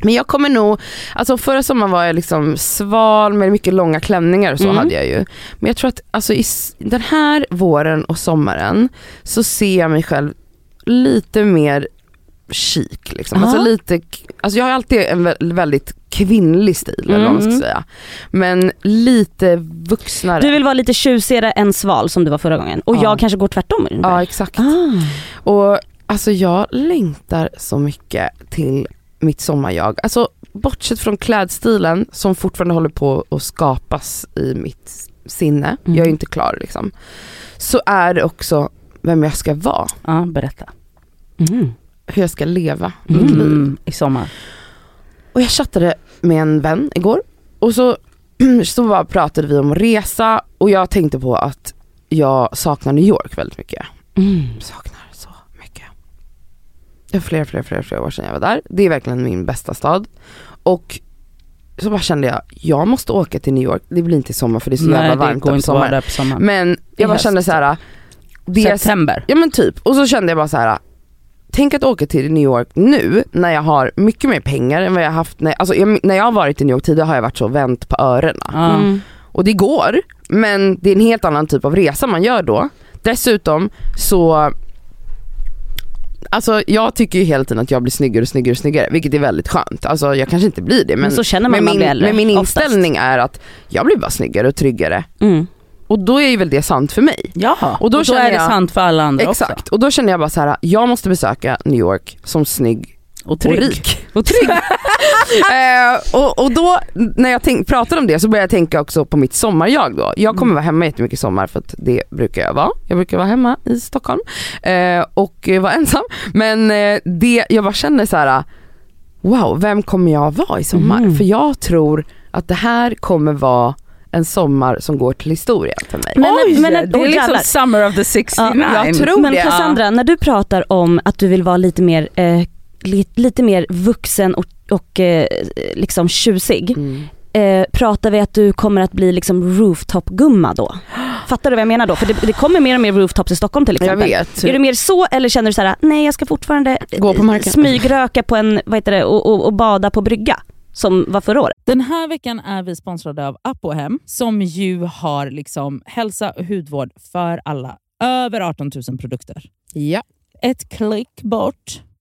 C: Men jag kommer nog, alltså förra sommaren var jag liksom sval med mycket långa klänningar och så
B: Mm.
C: hade jag ju. Men jag tror att alltså, i s- den här våren och sommaren så ser jag mig själv lite mer chic. Liksom.
B: Ja.
C: Alltså, lite, k- alltså jag har alltid en vä- väldigt kvinnlig stil eller vad man ska
B: Mm.
C: säga. Men lite vuxnare.
B: Du vill vara lite tjusigare än sval som du var förra gången. Och
C: Ja.
B: jag kanske går tvärtom. i den
C: Ja
B: där.
C: exakt.
B: Ah.
C: Och alltså jag längtar så mycket till mitt sommarjag. Alltså bortsett från klädstilen som fortfarande håller på att skapas i mitt sinne,
B: Mm.
C: jag är ju inte klar liksom. Så är det också vem jag ska vara,
G: Ja, berätta.
B: Mm.
C: hur jag ska leva mitt liv.
G: Mm. I sommar.
C: Och jag chattade med en vän igår och så, så bara pratade vi om resa och jag tänkte på att jag saknar New York väldigt mycket.
B: Mm.
C: saknar så mycket. Det var flera, flera, flera, flera år sedan jag var där. Det är verkligen min bästa stad. Och så bara kände jag, jag måste åka till New York. Det blir inte i sommar för det är så
G: Nej,
C: jävla
G: det
C: varmt
G: går
C: där på
G: inte att vara
C: sommaren.
G: där på sommaren.
C: Men jag bara
G: höst.
C: kände så här. Det
G: September.
C: ja men typ. Och så kände jag bara så här. Tänk att åka till New York nu när jag har mycket mer pengar än vad jag haft. När, alltså, jag, när jag har varit i New York tidigare har jag varit så vänt på öronen.
G: Ja.
B: Mm.
C: Och det går, men det är en helt annan typ av resa man gör då. Dessutom så Alltså jag tycker ju hela tiden att jag blir snyggare och snyggare och snyggare, vilket är väldigt skönt. Alltså jag kanske inte blir det men,
B: Men så känner man när
C: men
B: man
C: min,
B: blir äldre,
C: men min
B: oftast.
C: inställning är att jag blir bara snyggare och tryggare.
B: Mm.
C: Och då är ju väl det sant för mig.
G: Ja,
C: Och
G: och
C: då
G: då,
C: känner
G: är det
C: jag-
G: sant för alla andra
C: Exakt.
G: också.
C: Och då känner jag bara så här: jag måste besöka New York som snygg
G: Och trygg.
C: Och rik. Och trygg. eh, och, och då när jag tänk, pratade om det så började jag tänka också på mitt sommarjag då. Jag
B: Mm.
C: kommer vara hemma jättemycket i sommar för att det brukar jag vara. Jag brukar vara hemma i Stockholm eh, och eh, vara ensam. Men eh, det, jag bara känner så här: wow vem kommer jag vara i sommar?
B: Mhm.
C: För jag tror att det här kommer vara en sommar som går till historien för mig.
B: Men-
G: Oj,
B: men-
G: det
B: åh,
G: är liksom
B: jävlar.
G: summer of the 69.
B: Ja,
C: jag tror
B: men
C: det.
B: Cassandra, när du pratar om att du vill vara lite mer, eh, li, lite mer vuxen och, och eh, liksom tjusig.
C: Mm.
B: Eh, pratar vi att du kommer att bli liksom rooftop-gumma då? Fattar du vad jag menar då? För det, det kommer mer och mer rooftops i Stockholm till
C: Jag
B: exempel.
C: vet.
B: Är du mer så eller känner du så här: nej jag ska fortfarande eh,
C: Gå på marken.
B: smygröka på en, vad heter det, och, och, och bada på brygga som var förra året.
D: Den här veckan är vi sponsrade av Apohem som ju har liksom hälsa och hudvård för alla. Över 18 000 produkter.
C: Ja.
D: Ett klick bort.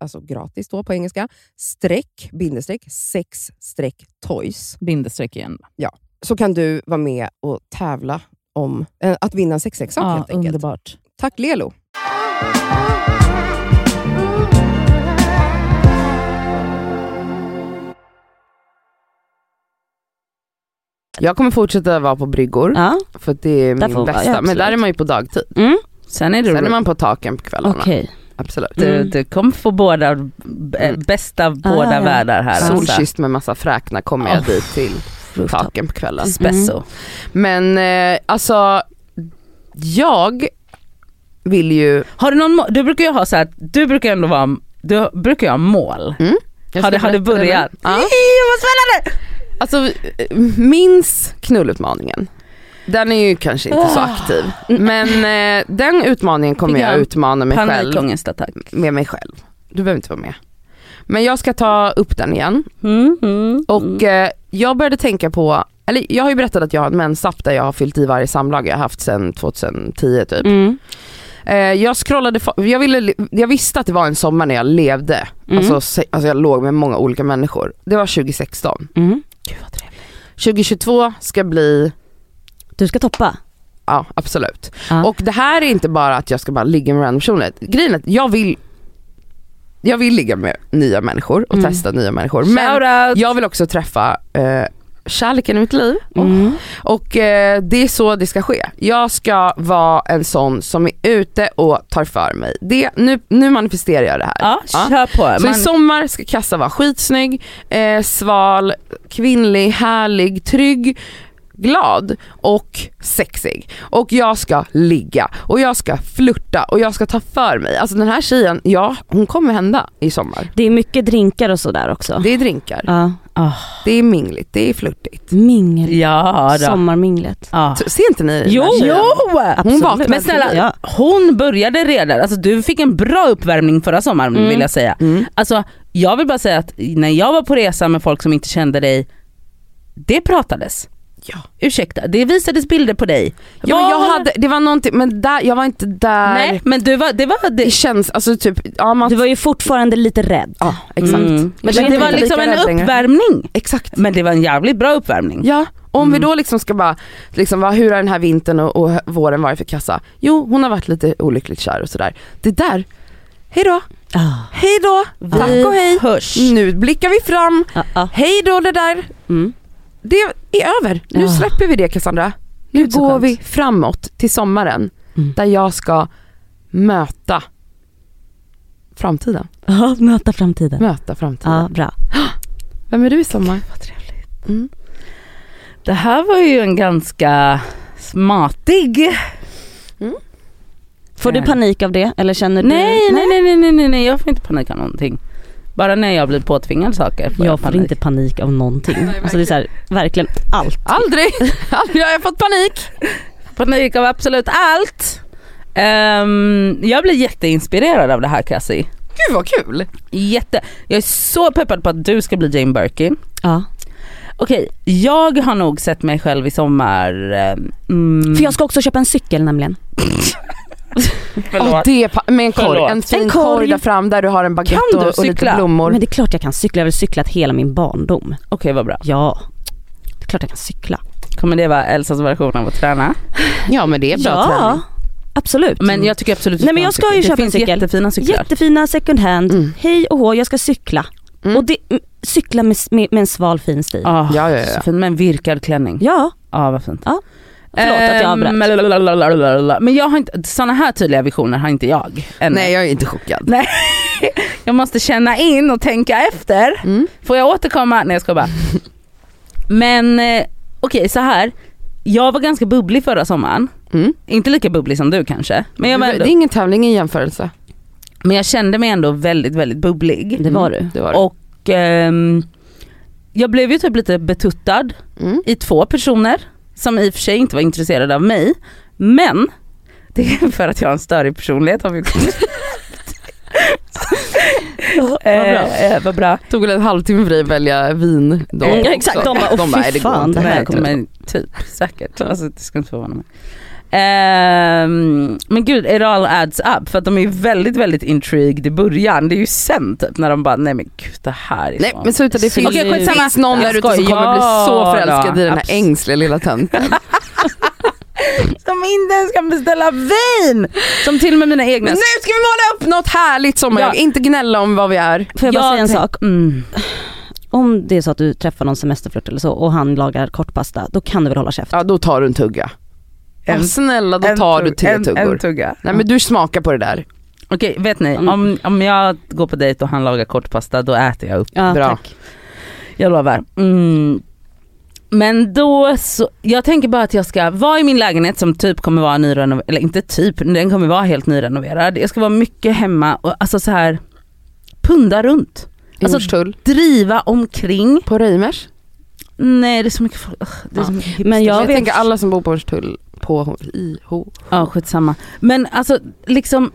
C: alltså gratis då på engelska, streck, bindestreck, sex streck toys.
H: Bindestreck igen.
C: Så kan du vara med och tävla om eh, att vinna en sexleksak
H: Ja,
C: helt enkelt.
H: underbart.
C: Tack Lelo!
I: Jag kommer fortsätta vara på bryggor,
B: Ja,
I: för att det är
B: Där
I: min
B: får- ja,
I: bästa. men
B: absolut.
I: där är man ju på dagtid.
D: Sen är Mm. det
I: Sen är man på taken på kvällarna.
B: okej.
I: Absolut.
D: du,
C: Mm.
D: du kommer få båda, b-
I: Mm.
D: bästa av
H: Ah,
D: båda
B: ja.
D: världar här. alltså.
I: Solkysst med massa fräknar kommer jag
D: Oh.
I: dit till
B: Rooftop.
I: taken på kvällen. Mm.
D: Espresso.
I: Men eh, alltså, jag vill ju...
D: Har du någon mål? Du brukar ju ha så här, du brukar ändå vara, du brukar ju ha mål.
I: Jag
D: Har
I: ska
D: du- har du
I: berätta det nu.
D: börjat?
I: Ja. Alltså, eh, minns knullutmaningen. Den är ju kanske inte så aktiv, men eh, den utmaningen kommer
D: Fick
I: jag
D: jag
I: utmana mig själv
D: Panikångestattack.
I: med mig själv. Du behöver inte vara med. Men jag ska ta upp den igen.
D: Mm, mm,
I: Och
D: mm.
I: eh, jag började tänka på, eller jag har ju berättat att jag har en mensapp där jag har fyllt i varje samlag jag har haft sedan 2010 typ.
B: Mm.
I: Eh, jag scrollade, fa- jag, ville, jag visste att det var en sommar när jag levde.
B: Mm.
I: Alltså, se, alltså jag låg med många olika människor. Det var 2016.
B: Mm.
I: 2022 ska bli,
B: Du ska toppa.
I: ja absolut.
B: Ja.
I: Och det här är inte bara att jag ska bara ligga med random personer. Grejen är att jag vill, jag vill ligga med nya människor och
B: Mm.
I: testa nya människor. Men
D: Shoutout!
I: jag vill också träffa eh, kärleken i mitt liv.
B: Mm.
I: Och eh, det är så det ska ske. Jag ska vara en sån som är ute och tar för mig. Det, nu, nu manifesterar jag det här.
D: Ja,
I: Ja.
D: kör på.
I: Så i
D: Man,
I: sommar ska Kassa vara skitsnygg, eh, sval, kvinnlig, härlig, trygg, glad och sexig. Och jag ska ligga och jag ska flirta och jag ska ta för mig. Alltså den här tjejen, ja hon kommer hända i sommar.
B: Det är mycket drinkar och sådär också.
I: Det är drinkar,
B: Ja.
I: det är mingligt, det är flirtigt.
B: Mingel.
D: ja då.
B: Sommarminglet.
D: Ja.
I: Så, ser inte ni den
D: Jo!
I: här tjejen?
B: Absolut.
I: vaknade
D: Men snälla,
B: Ja.
D: hon började redan. Alltså, du fick en bra uppvärmning förra sommaren
B: Mm.
D: vill jag säga.
I: Mm.
D: Alltså, jag vill bara säga att när jag var på resa med folk som inte kände dig, det pratades.
I: Ja.
D: Ursäkta, det visades bilder på dig.
I: Ja, men
D: Vad
I: jag
D: har-
I: hade, det var någonting, men där, jag var inte där.
D: Nej men du var, det var,
I: Det
D: det,
I: känns, alltså typ, ja man,
B: Du var ju fortfarande lite rädd.
I: ja exakt.
D: Mm. Men,
I: Jag
D: det
I: kände mig
D: var
I: inte
D: liksom
I: lika
D: en
I: rädd längre.
D: uppvärmning.
I: Exakt.
D: Men det var en jävligt bra uppvärmning.
I: Ja, om vi
B: Mm.
I: då liksom ska bara, liksom, vad, hur har den här vintern och, och våren varit för Kassa? Jo, hon har varit lite olyckligt kär och sådär. Det där, hej då,
B: Ah.
I: hej då, tack och hej. Mm.
D: Hörs.
I: Nu blickar vi fram,
B: Ah, ah.
I: hej då det där.
B: Mm.
I: Det är över, nu
B: Ah.
I: släpper vi det Cassandra. Nu
B: så
I: går
B: skönt.
I: vi framåt till sommaren
B: Mm.
I: där jag ska möta framtiden.
B: Ja, möta framtiden.
I: Möta framtiden.
B: Ja, bra.
I: Vem är du i sommar?
D: Det här var ju en ganska smatig
B: Får du panik av det eller känner du?
D: Nej, nej, nej, nej, nej, nej, nej, jag får inte panik av någonting. Bara när jag blir påtvingad saker får jag,
B: Jag får
D: panik.
B: inte panik av någonting. alltså det är så här, verkligen allt.
I: Aldrig! Aldrig har jag fått panik.
D: panik av absolut allt. Ehm, jag blir jätteinspirerad av det här Cassie.
I: Gud vad kul!
D: Jätte. Jag är så peppad på att du ska bli Jane Birkin.
B: Ja.
D: Okej, jag har nog sett mig själv i sommar... ehm, Mm,
B: För jag ska också köpa en cykel nämligen.
I: Oh, det är pa- med en korg,
D: Förlåt.
I: en fin
B: En korg.
I: korg. där fram där du har en baguette
D: Kan du
I: och, och lite
D: cykla?
I: blommor.
B: Men det är klart jag kan cykla, jag har väl cyklat hela min barndom.
D: Okej vad bra.
B: Ja, det är klart jag kan cykla.
D: Kommer det vara Elsas version av att träna?
I: Ja men det är bra
B: ja,
I: träning.
B: absolut.
D: Mm. Men jag tycker absolut
B: Nej, men jag ska ju
D: det
B: köpa en
D: finns
B: cykel.
D: jättefina cyklar.
B: Jättefina second hand,
I: Mm.
B: hej och hå, jag ska cykla.
I: Mm.
B: Och det, mm, cykla med, med, med en sval fin stil. Ja,
D: Ah,
I: Ja, ja, ja.
D: Så fint med en virkad klänning. Ja vad fint.
B: förlåt att
D: Ehm,
B: jag avbröt.
D: avbröt. Men jag har inte, sådana här tydliga visioner har inte jag. Ännu.
I: Nej jag är inte chockad.
D: Jag måste känna in och tänka efter.
I: Mm.
D: Får jag återkomma? Nej jag ska bara. Men eh, okej så här. Jag var ganska bubblig förra sommaren.
I: Mm.
D: Inte lika bubblig som du kanske. Men jag, var
I: det
D: ändå,
I: är ingen tävling, ingen jämförelse.
D: men jag kände mig ändå väldigt väldigt bubblig.
B: Det var du.
I: Det var det.
D: Och ehm, jag blev ju typ lite betuttad
I: Mm.
D: i två personer som i och för sig inte var intresserade av mig. Men det är för att jag har en större personlighet har vi kommit fram till. Eh, eh, Vad bra.
I: Tog väl en halvtimme för dig att välja vin då.
D: Eh,
B: Mm,
I: också.
B: exakt. De bara, "Åh, fy
I: "Nej, det går
B: fan,
I: inte."
B: det här
D: Nej,
B: kommer-
D: men typ säkert. Alltså, det ska inte förvåna mig. Ehm, men gud, it all adds up för att de är ju väldigt väldigt intrigued i början. Det är ju sen typ när de bara nej men gud det här är
I: Nej
D: så-
I: men sluta det finns,
D: Okej,
I: det
D: skitsamma.
I: finns någon
D: Jag
I: där ute som
D: skojar.
I: kommer bli så
D: Ja,
I: förälskad i den här
D: abs-
I: ängsliga lilla tönten.
D: Som inte ens kan beställa vin! Som till och med mina egna...
I: Men nu ska vi måla upp något härligt sommarjag,
D: Ja.
I: inte gnälla om vad vi är.
B: Får jag bara
D: Jag
B: säga en
D: tänk-
B: sak?
D: Mm.
B: Om det är så att du träffar någon semesterflirt eller så och han lagar kortpasta, då kan du väl hålla käften?
I: Ja då tar du en tugga.
D: En-
I: ja, snälla då tar du tre tuggor.
D: En, en tugga.
I: Nej men du smakar på det där.
D: Okej, vet ni?
B: Mm.
D: Om, om jag går på dejt och han lagar kortpasta, då äter jag upp.
B: Ja,
I: Bra.
B: tack.
D: Jag lovar. Mm. Men då så, jag tänker bara att jag ska vara i min lägenhet som typ kommer vara nyrenoverad, eller inte typ, den kommer vara helt nyrenoverad. Jag ska vara mycket hemma och alltså så här punda runt.
I: I
D: Alltså-
I: Hornstull.
D: Driva omkring.
I: På Reimers.
D: Nej det är så mycket folk, Ugh, det är så
B: Ja.
D: mycket
B: Men
I: Jag,
B: jag vet,
I: tänker alla som bor på Hornstull, på i Ho.
D: Ja skitsamma. Men alltså liksom,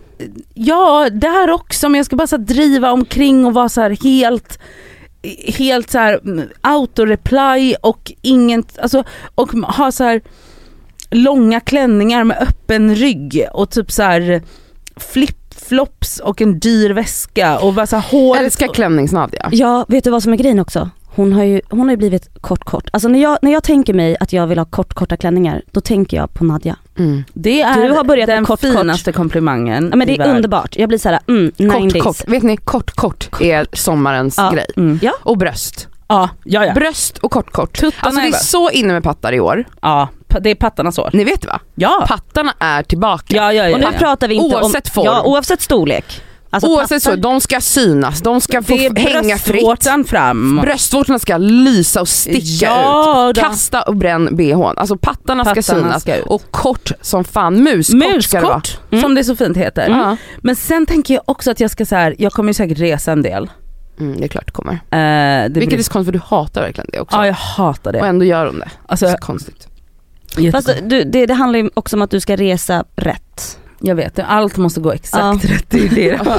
D: ja där också men jag ska bara så här, driva omkring och vara så här helt helt så här mm, autoreply och inget, alltså och ha så här långa klänningar med öppen rygg och typ så här flip-flops och en dyr väska och bara så här hår.
I: Älskar klänningsnadja.
B: ja, vet du vad som är grejen också? Hon har ju, hon har ju blivit kort kort. Alltså när jag, när jag tänker mig att jag vill ha kort korta klänningar, då tänker jag på Nadja.
I: Mm.
D: Det är
B: Du har börjat
D: den
B: med kort, kort.
D: finaste komplimangen
B: Ja, men
D: i
B: det är
D: världen.
B: underbart. Jag blir såhär, mm,
I: Kort
B: 90s.
I: kort, vet ni kort kort, är sommarens
B: Ja.
I: grej.
D: Mm.
B: Ja.
I: Och bröst.
D: Ja, ja, ja.
I: Bröst och kort kort.
D: Tuttarna
I: Alltså det
D: är
I: är
D: bara-
I: så inne med pattar i år.
D: ja, pa- det är pattarnas år.
I: Ni vet va?
D: Ja.
I: Pattarna är tillbaka.
D: Ja, ja, ja,
B: Och nu
D: ja.
B: pratar vi inte
I: Oavsett
B: om,
I: form.
B: Ja, oavsett storlek. Alltså
I: Oavsett
B: pattar-
I: så, de ska synas, de ska få
D: det är
I: hänga fritt.
D: bröstvårtan fram.
I: Bröstvårtorna ska lysa och sticka
D: Ja,
I: ut.
D: då.
I: Kasta och bränn bhn. Alltså pattarna,
D: Pattarna
I: ska synas.
D: ska ut.
I: och kort som fan, muskort ska det vara.
D: Muskort, Mm. som det så fint heter.
I: Mm. Ja.
D: Men sen tänker jag också att jag ska så här, jag kommer ju säkert resa en del. Eh,
I: Mm, det är klart det kommer.
D: det
I: Vilket
D: blir-
I: är så konstigt för du hatar verkligen det också.
D: Ja jag hatar
I: Och
D: det.
I: ändå gör hon det.
D: Alltså,
I: Så konstigt.
D: jättekonstigt.
B: Fast du, det, det handlar ju också om att du ska resa rätt.
D: jag vet, allt måste gå exakt rätt. Det är det.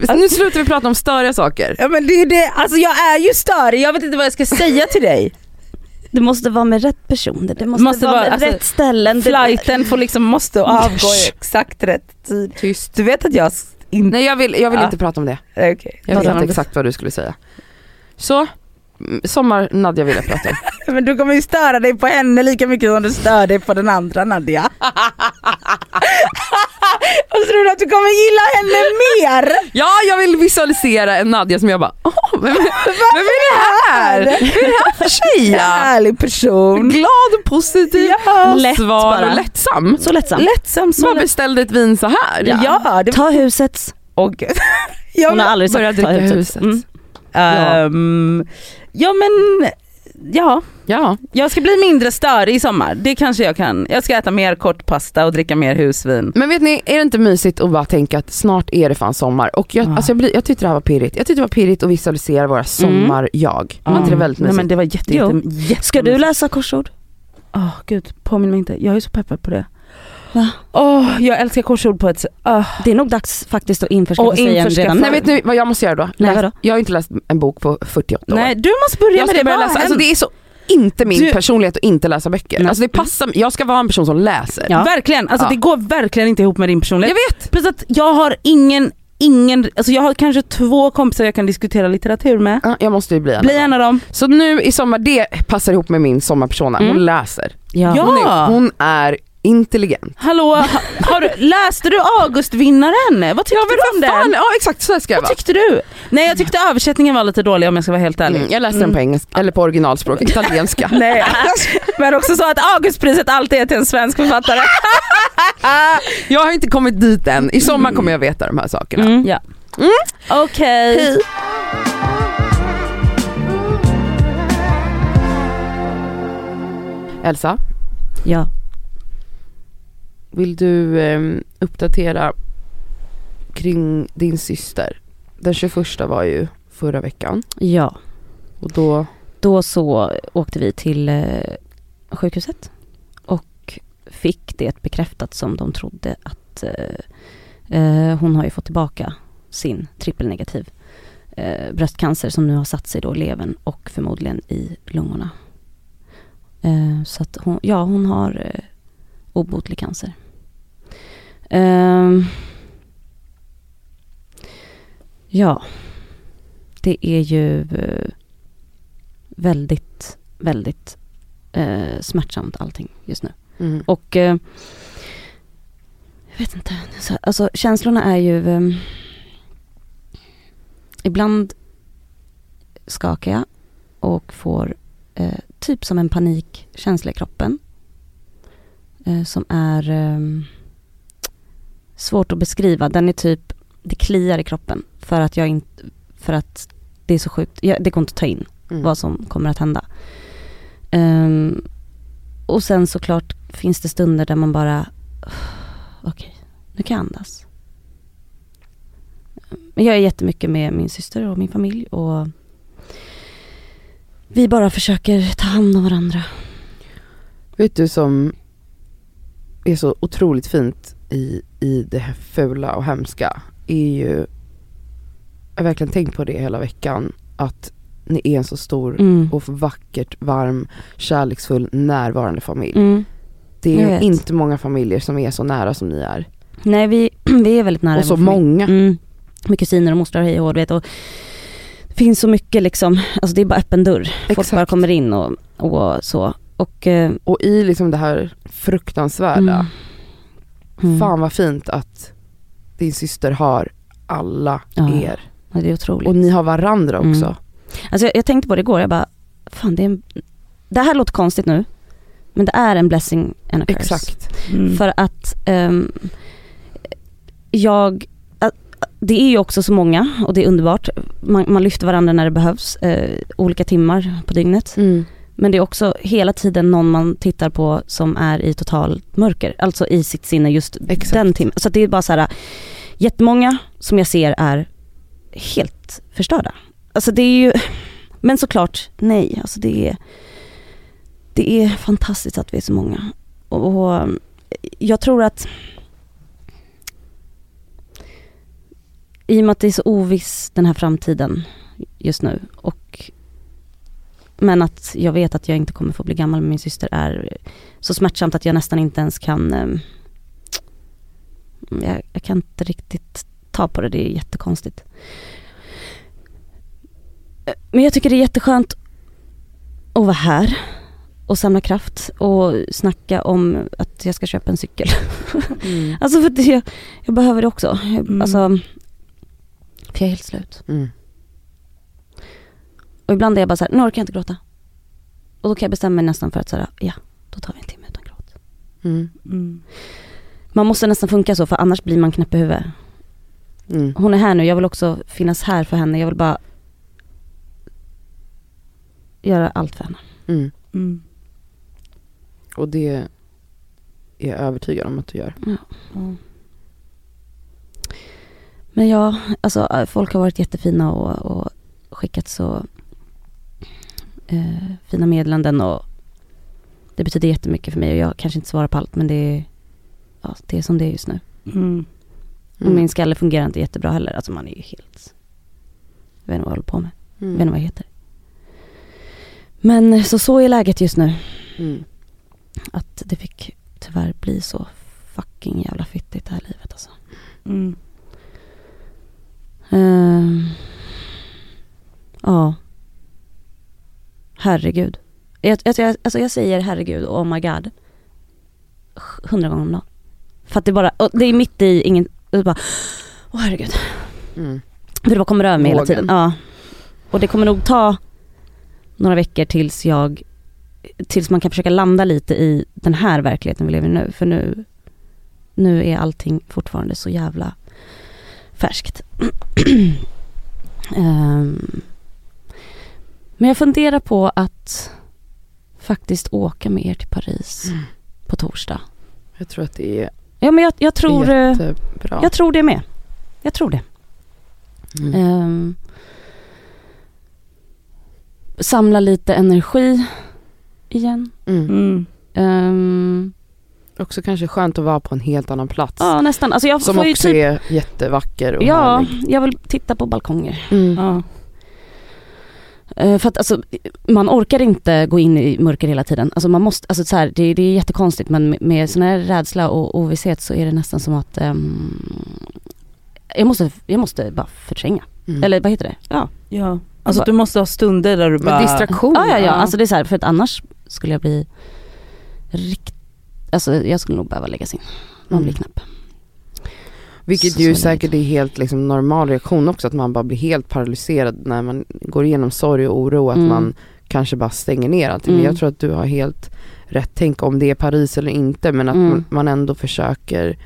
I: Alltså, nu slutar vi prata om störiga saker.
D: ja men det är det, alltså jag är ju störig, jag vet inte vad jag ska säga till dig.
B: Du måste vara med rätt personer, det måste,
D: Måste
B: vara
D: vara-
B: med
D: alltså,
B: rätt ställen. Det-
D: Flighten får liksom, måste avgå i exakt rätt tid. Du vet att jag s- inte...
I: Nej jag vill, jag vill
D: Ja.
I: inte prata om det.
D: Nej. Okej.
I: Jag vet
D: Vadå?
I: exakt vad du skulle säga. Så, mm, sommar Nadja ville prata om.
D: Men du kommer ju störa dig på henne lika mycket som du stör dig på den andra Nadja. Och så tror du att du kommer gilla henne mer?
I: Ja, jag vill visualisera en Nadja som jag bara, åh, vem, vem är det här? Vem är det här för tjej? ja?
D: Härlig person.
I: Glad och positiv,
B: lätt
I: sval
B: bara.
I: och lättsam.
B: Så lättsamt.
D: Lättsam
I: Som bara
D: som
I: beställde ett vin så här.
D: Ja, ja det
B: Ta husets.
D: och, ja,
B: Hon har aldrig
I: Börja
B: sagt ta
I: dricka
B: huset.
I: huset.
B: Mm.
D: ehm, ja men ja,
I: Ja.
D: jag ska bli mindre störig i sommar. Det kanske jag kan. Jag ska äta mer kortpasta och dricka mer husvin.
I: Men vet ni, är det inte mysigt att bara tänka att snart är det fan sommar? Och jag,
D: Ja. Mm.
I: alltså jag, blir, jag tyckte det här var pirrigt. Jag tyckte det var pirrigt att visualisera våra sommar-jag. Var inte det väldigt
D: Nej
I: mysigt?
D: men det var jätte,
B: Jo.
D: jätte, jätte
B: Ska du läsa korsord?
D: Åh gud, påminn mig inte. Jag är så peppad på det.
B: Va?
D: Åh, jag älskar korsord på ett sätt. Ah.
B: Det är nog dags faktiskt att införskaffa
D: Och
B: sig igen
D: införskaffa-
B: redan
I: Nej vet ni vad jag måste göra då?
B: Nej,
I: Läs-
B: vadå?
I: jag har inte läst en bok på 48 år.
D: Nej, du måste börja
I: jag
D: med
I: ska
D: det.
I: börja
D: Vad
I: läsa.
D: har
I: Alltså
D: hänt?
I: det är så inte min
D: Du-
I: personlighet att inte läsa böcker.
B: Nej.
I: Alltså det passar, jag ska vara en person som läser.
B: Ja.
D: Verkligen, alltså
I: Ja.
D: det går verkligen inte ihop med din personlighet.
I: Jag vet!
D: Plus att jag har ingen, ingen, alltså jag har kanske två kompisar jag kan diskutera litteratur med.
I: Ja, Jag måste ju bli en.
D: Bli en av dem.
I: Så nu i sommar, det passar ihop med min sommarpersona. Hon
B: Mm.
I: läser.
B: Ja.
D: Ja.
I: Hon, är, hon är intelligent.
D: Hallå, ha- har du, läste du Augustvinnaren? Vad tyckte du om
I: Fan,
D: den?
I: ja exakt så här ska jag
D: Vad
I: vara.
D: tyckte du? Nej jag tyckte översättningen var lite dålig om jag ska vara helt ärlig.
I: Mm, jag läste den på engelska, eller på originalspråk, italienska.
D: Nej, men också så att Augustpriset alltid är till en svensk författare.
I: Jag har inte kommit dit än. I sommar kommer jag veta de här sakerna.
D: Ja.
I: Mm.
D: Okej.
I: Elsa,
B: ja.
I: vill du ehm, uppdatera kring din syster? Den 21 var ju förra veckan
B: ja.
I: och då
B: Då så åkte vi till eh, sjukhuset och fick det bekräftat som de trodde att eh, eh, hon har ju fått tillbaka sin trippelnegativ eh, bröstcancer som nu har satt sig då i levern och förmodligen i lungorna. Eh, så att hon, ja hon har eh, obotlig cancer. Ehm. ja, det är ju eh, väldigt, väldigt eh, smärtsamt allting just nu.
I: mm.
B: Och eh, jag vet inte, så- alltså känslorna är ju eh, ibland skakar jag och får eh, typ som en panikkänsla i kroppen. Eh, som är eh, svårt att beskriva. Den är typ, det kliar i kroppen för att jag inte, för att det är så sjukt, jag, det går inte att ta in
I: Mm.
B: vad som kommer att hända. Ehm, och sen såklart finns det stunder där man bara, okej, nu kan jag andas. Men jag är jättemycket med min syster och min familj och vi bara försöker ta hand om varandra.
I: Vet du som är så otroligt fint i, i det här fula och hemska är ju, jag har verkligen tänkt på det hela veckan, att ni är en så stor
B: Mm.
I: och vackert, varm, kärleksfull, närvarande familj.
B: Mm.
I: Det
B: Jag
I: är
B: vet.
I: inte många familjer som är så nära som ni är.
B: Nej vi, vi är väldigt nära
I: och så
B: vår familj.
I: många.
B: Mm. Med kusiner och mostrar och hej och hå, du vet. Och det finns så mycket liksom, alltså det är bara öppen dörr. Folk bara
I: Exakt.
B: kommer in och, och så. Och, eh,
I: Och i liksom det här fruktansvärda,
B: mm. Mm.
I: fan vad fint att din syster har alla
B: Ja.
I: er.
B: Ja, det är otroligt.
I: Och ni har varandra
B: Mm.
I: också.
B: Alltså jag, jag tänkte på det igår, jag bara, fan det är en, Det här låter konstigt nu, men det är en blessing and a curse.
I: Exakt.
D: Mm.
B: För att ehm, jag, ä- det är ju också så många och det är underbart. Man, man lyfter varandra när det behövs, eh, olika timmar på dygnet.
I: Mm.
B: Men det är också hela tiden någon man tittar på som är i totalt mörker, alltså i sitt sinne just
I: Exakt.
B: den timmen. Så att det är bara så här, jättemånga som jag ser är helt förstörda. Alltså det är ju, men såklart nej, alltså det är, det är fantastiskt att vi är så många. Och, och jag tror att i och med att det är så oviss den här framtiden just nu och men att jag vet att jag inte kommer få bli gammal med min syster är så smärtsamt att jag nästan inte ens kan... ehm, Jag, jag kan inte riktigt ta på det, det är jättekonstigt. Eh, Men jag tycker det är jätteskönt att vara här och samla kraft och snacka om att jag ska köpa en cykel.
I: Mm.
B: Alltså för att jag, jag behöver det också. Jag,
D: Mm.
B: Alltså, för jag är helt slut.
I: Mm.
B: Och ibland är jag bara så här, nu orkar jag inte gråta. Och då kan jag bestämma mig nästan för att så här, ja, då tar vi en timme utan gråt.
I: Mm.
D: Mm.
B: Man måste nästan funka så för annars blir man knäpp i huvudet.
I: Mm.
B: Hon är här nu, jag vill också finnas här för henne. Jag vill bara göra allt för henne.
I: Mm.
D: Mm.
I: Och det är jag övertygad om att du gör.
B: Men ja, alltså eh, folk har varit jättefina och, och skickat så eh, fina meddelanden och det betyder jättemycket för mig och jag kanske inte svarar på allt men det är, ja, det är som det är just nu.
D: Mm.
B: Och min skalle fungerar inte jättebra heller, alltså man är ju helt... Jag vet inte vad jag håller på med, jag
I: mm,
B: vet inte vad jag heter. Men så så är läget just nu,
I: Mm.
B: att det fick tyvärr bli så fucking jävla fittigt det här livet alltså.
D: Mm.
B: Ehm, ja. Herregud. Jag, jag, jag, alltså jag säger herregud och oh my god. sj- Hundra gånger om dagen. För att det bara, och det är mitt i ingen, det bara, åh herregud.
I: Mm.
B: För det bara kommer över mig hela
I: Vågen.
B: tiden. Ja. Och det kommer nog ta några veckor tills jag, tills man kan försöka landa lite i den här verkligheten vi lever i nu. För nu, nu är allting fortfarande så jävla färskt. Ehm. men jag funderar på att faktiskt åka med er till Paris
I: Mm.
B: på torsdag.
I: Jag tror att det är
B: Ja men jag, jag tror... eh,
I: jättebra.
B: jag tror det med. Jag tror det.
I: Mm.
B: Ehm, samla lite energi igen.
I: Mm.
D: Mm.
B: Ehm,
I: Också kanske skönt att vara på en helt annan plats.
B: ja nästan. Alltså jag
I: Som
B: får ju
I: också
B: typ,
I: är jättevacker och
B: Ja,
I: härlig.
B: jag vill titta på balkonger.
I: Mm.
D: Ja.
B: Eh, För att alltså, man orkar inte gå in i mörker hela tiden. Alltså man måste, alltså så här, det, det är jättekonstigt men med- med sån här rädsla och ovisshet så är det nästan som att ehm, jag, måste, jag måste bara förtränga.
I: Mm.
B: Eller vad heter det? Ja.
D: ja. Alltså du måste ha stunder där du bara...
I: Men distraktion.
B: Ja, ja, ja. Alltså det är så här, för att annars skulle jag bli rikt... Alltså jag skulle nog behöva läggas in. Man blir
I: Mm.
B: knäpp.
I: Vilket
B: Så-
I: ju
B: så
I: säkert är helt liksom, normal reaktion också, att man bara blir helt paralyserad när man går igenom sorg och oro, att
B: Mm.
I: man kanske bara stänger ner allting. Men
B: Mm.
I: jag tror att du har helt rätt tänk om det är Paris eller inte, men att
B: Mm.
I: man- man ändå försöker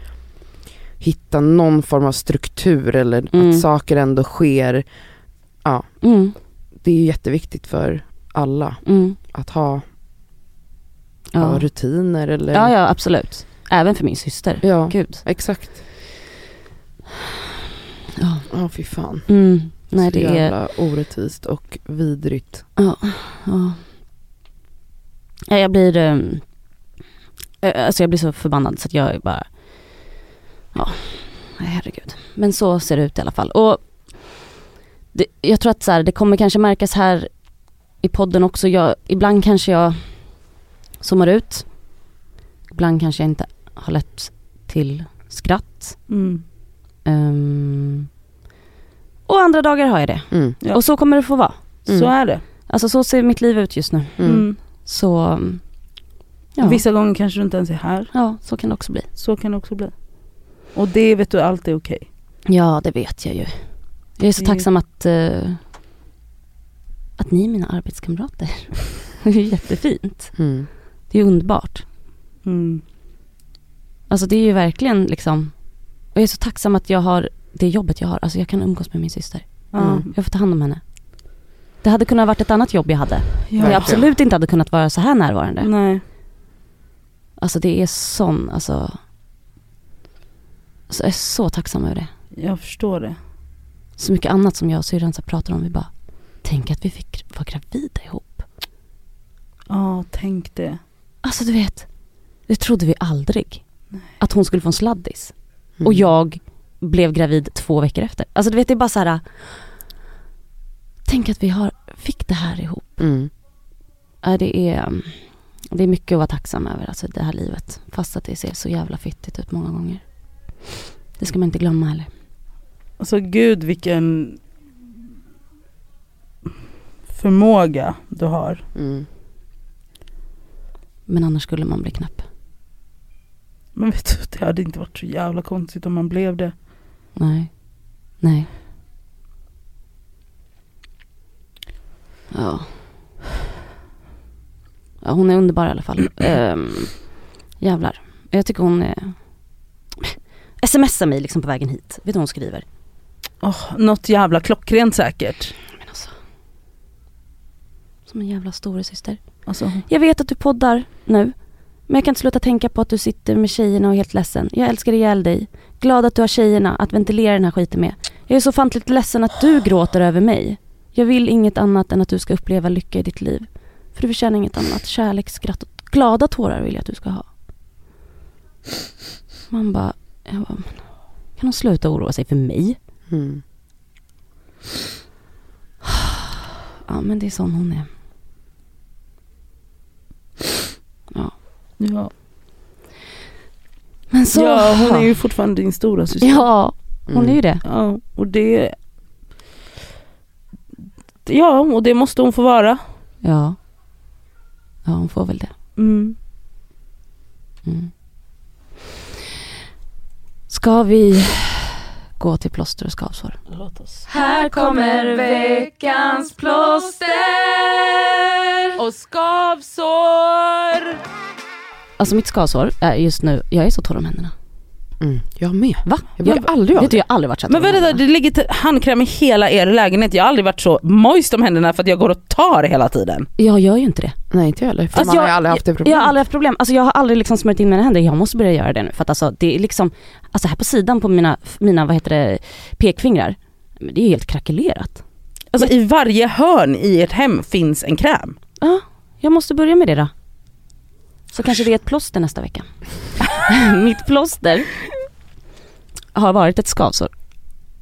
I: hitta någon form av struktur eller
B: Mm.
I: att saker ändå sker.
B: Mm,
I: Det är ju jätteviktigt för alla
B: mm.
I: att ha, ha
B: Ja.
I: rutiner eller...
B: ja, ja absolut. Även för min syster.
I: Ja,
B: Gud.
I: exakt.
B: Ja.
I: Ja, fy fan.
B: Mm. Nej
I: Så
B: det är...
I: jävla orättvist och vidrigt.
B: Ja. Ja, jag blir... ehm, eh, alltså jag blir så förbannad så att jag är bara... Ja, nej, herregud. Men så ser det ut i alla fall. Och det, jag tror att så här, det kommer kanske märkas här i podden också. Jag, ibland kanske jag zoomar ut. Ibland kanske jag inte har lätt till skratt.
D: Mm.
B: Ehm, och andra dagar har jag det.
I: Mm.
D: Ja.
B: Och så kommer det få vara.
D: Så är det.
B: Alltså så ser mitt liv ut just nu.
I: Mm.
D: Mm.
B: Så mm, ja.
D: Vissa gånger kanske du inte ens är här.
B: ja, så kan det också bli.
D: Så kan det också bli. Och det vet du, allt är okej.
B: Ja, det vet jag ju. Jag är så
D: Det-
B: tacksam att, eh, att ni är mina arbetskamrater. det är ju jättefint.
I: Mm.
B: Det är ju underbart.
D: Mm.
B: Alltså det är ju verkligen liksom... Och jag är så tacksam att jag har det jobbet jag har. Alltså jag kan umgås med min syster.
D: Ja.
I: Mm.
B: Jag får ta hand om henne. Det hade kunnat varit ett annat jobb jag hade.
D: Ja.
B: Men jag
I: Verkligen.
B: absolut inte hade kunnat vara så här närvarande.
D: Nej.
B: Alltså det är sån, alltså... Så jag är så tacksam över det.
D: Jag förstår det.
B: så mycket annat som jag och syrran så här pratar om. Vi bara, tänk att vi fick vara gravida ihop.
D: Ja, tänk det.
B: Alltså du vet, det trodde vi aldrig. Att hon skulle få en sladdis. Och
I: Mm.
B: jag blev gravid två veckor efter. Alltså du vet, det är bara så här. Tänk att vi har, fick det här ihop.
I: Mm.
B: Ja, det, är, mm, det är mycket att vara tacksam över, alltså det här livet. Fast att det ser så jävla fittigt ut många gånger. Det ska man inte glömma heller.
D: Alltså gud vilken förmåga du har.
I: Mm.
B: Men annars skulle man bli knäpp.
D: Men vet du, det hade inte varit så jävla konstigt om man blev det.
B: Nej. Nej. Ja. ja hon är underbar i alla fall. Ehm, jävlar. Jag tycker hon är... Smsar mig liksom på vägen hit. Vet du vad hon skriver?
D: Åh, något jävla klockrent säkert.
B: Men alltså. Som en jävla storasyster.
H: Alltså,
B: Jag vet att du poddar nu, men jag kan inte sluta tänka på att du sitter med tjejerna och är helt ledsen. Jag älskar ihjäl dig. Glad att du har tjejerna att ventilera den här skiten med. Jag är så fantligt ledsen att du gråter över mig. Jag vill inget annat än att du ska uppleva lycka i ditt liv. För du förtjänar inget annat. Kärlek, skratt och glada tårar vill jag att du ska ha. Man bara, jag bara men, kan hon sluta oroa sig för mig?
I: Mm.
B: Ja men det är sån hon är.
H: ja.
B: Men så.
D: Ja, hon är ju fortfarande din stora syster.
B: Ja, hon är ju det.
D: Ja, och det... Ja, och det måste hon få vara.
B: Ja. Ja hon får väl det.
D: Mm.
B: Mm. Ska vi gå till plåster och skavsår?
D: Låt oss.
B: Här kommer veckans plåster!
D: Och skavsår!
B: Alltså mitt skavsår är just nu, jag är så torr om händerna.
I: Mm. Jag med.
B: Va?
I: Jag brukar aldrig vara
B: vet du,
I: det.
B: jag har aldrig varit så här
D: Men
B: torr om
D: vänta,
B: händerna.
D: det ligger t- handkräm i hela er lägenhet. Jag har aldrig varit så moist om händerna för att jag går och tar hela tiden.
B: Jag gör ju inte det.
I: Nej inte jag heller. För
B: Alltså,
I: man har
B: jag-
I: ju aldrig haft det
B: Jag
I: problemet.
B: har aldrig haft problem. Alltså jag har aldrig liksom smörjt in mina händer. Jag måste börja göra det nu. För att alltså det är liksom, alltså här på sidan på mina, mina vad heter det, pekfingrar. Men det är ju helt krackelerat.
D: Alltså i varje hörn i ert hem finns en kräm.
B: Ja, jag måste börja med det då. Så kanske det är ett plåster nästa vecka. Mitt plåster har varit ett skavsår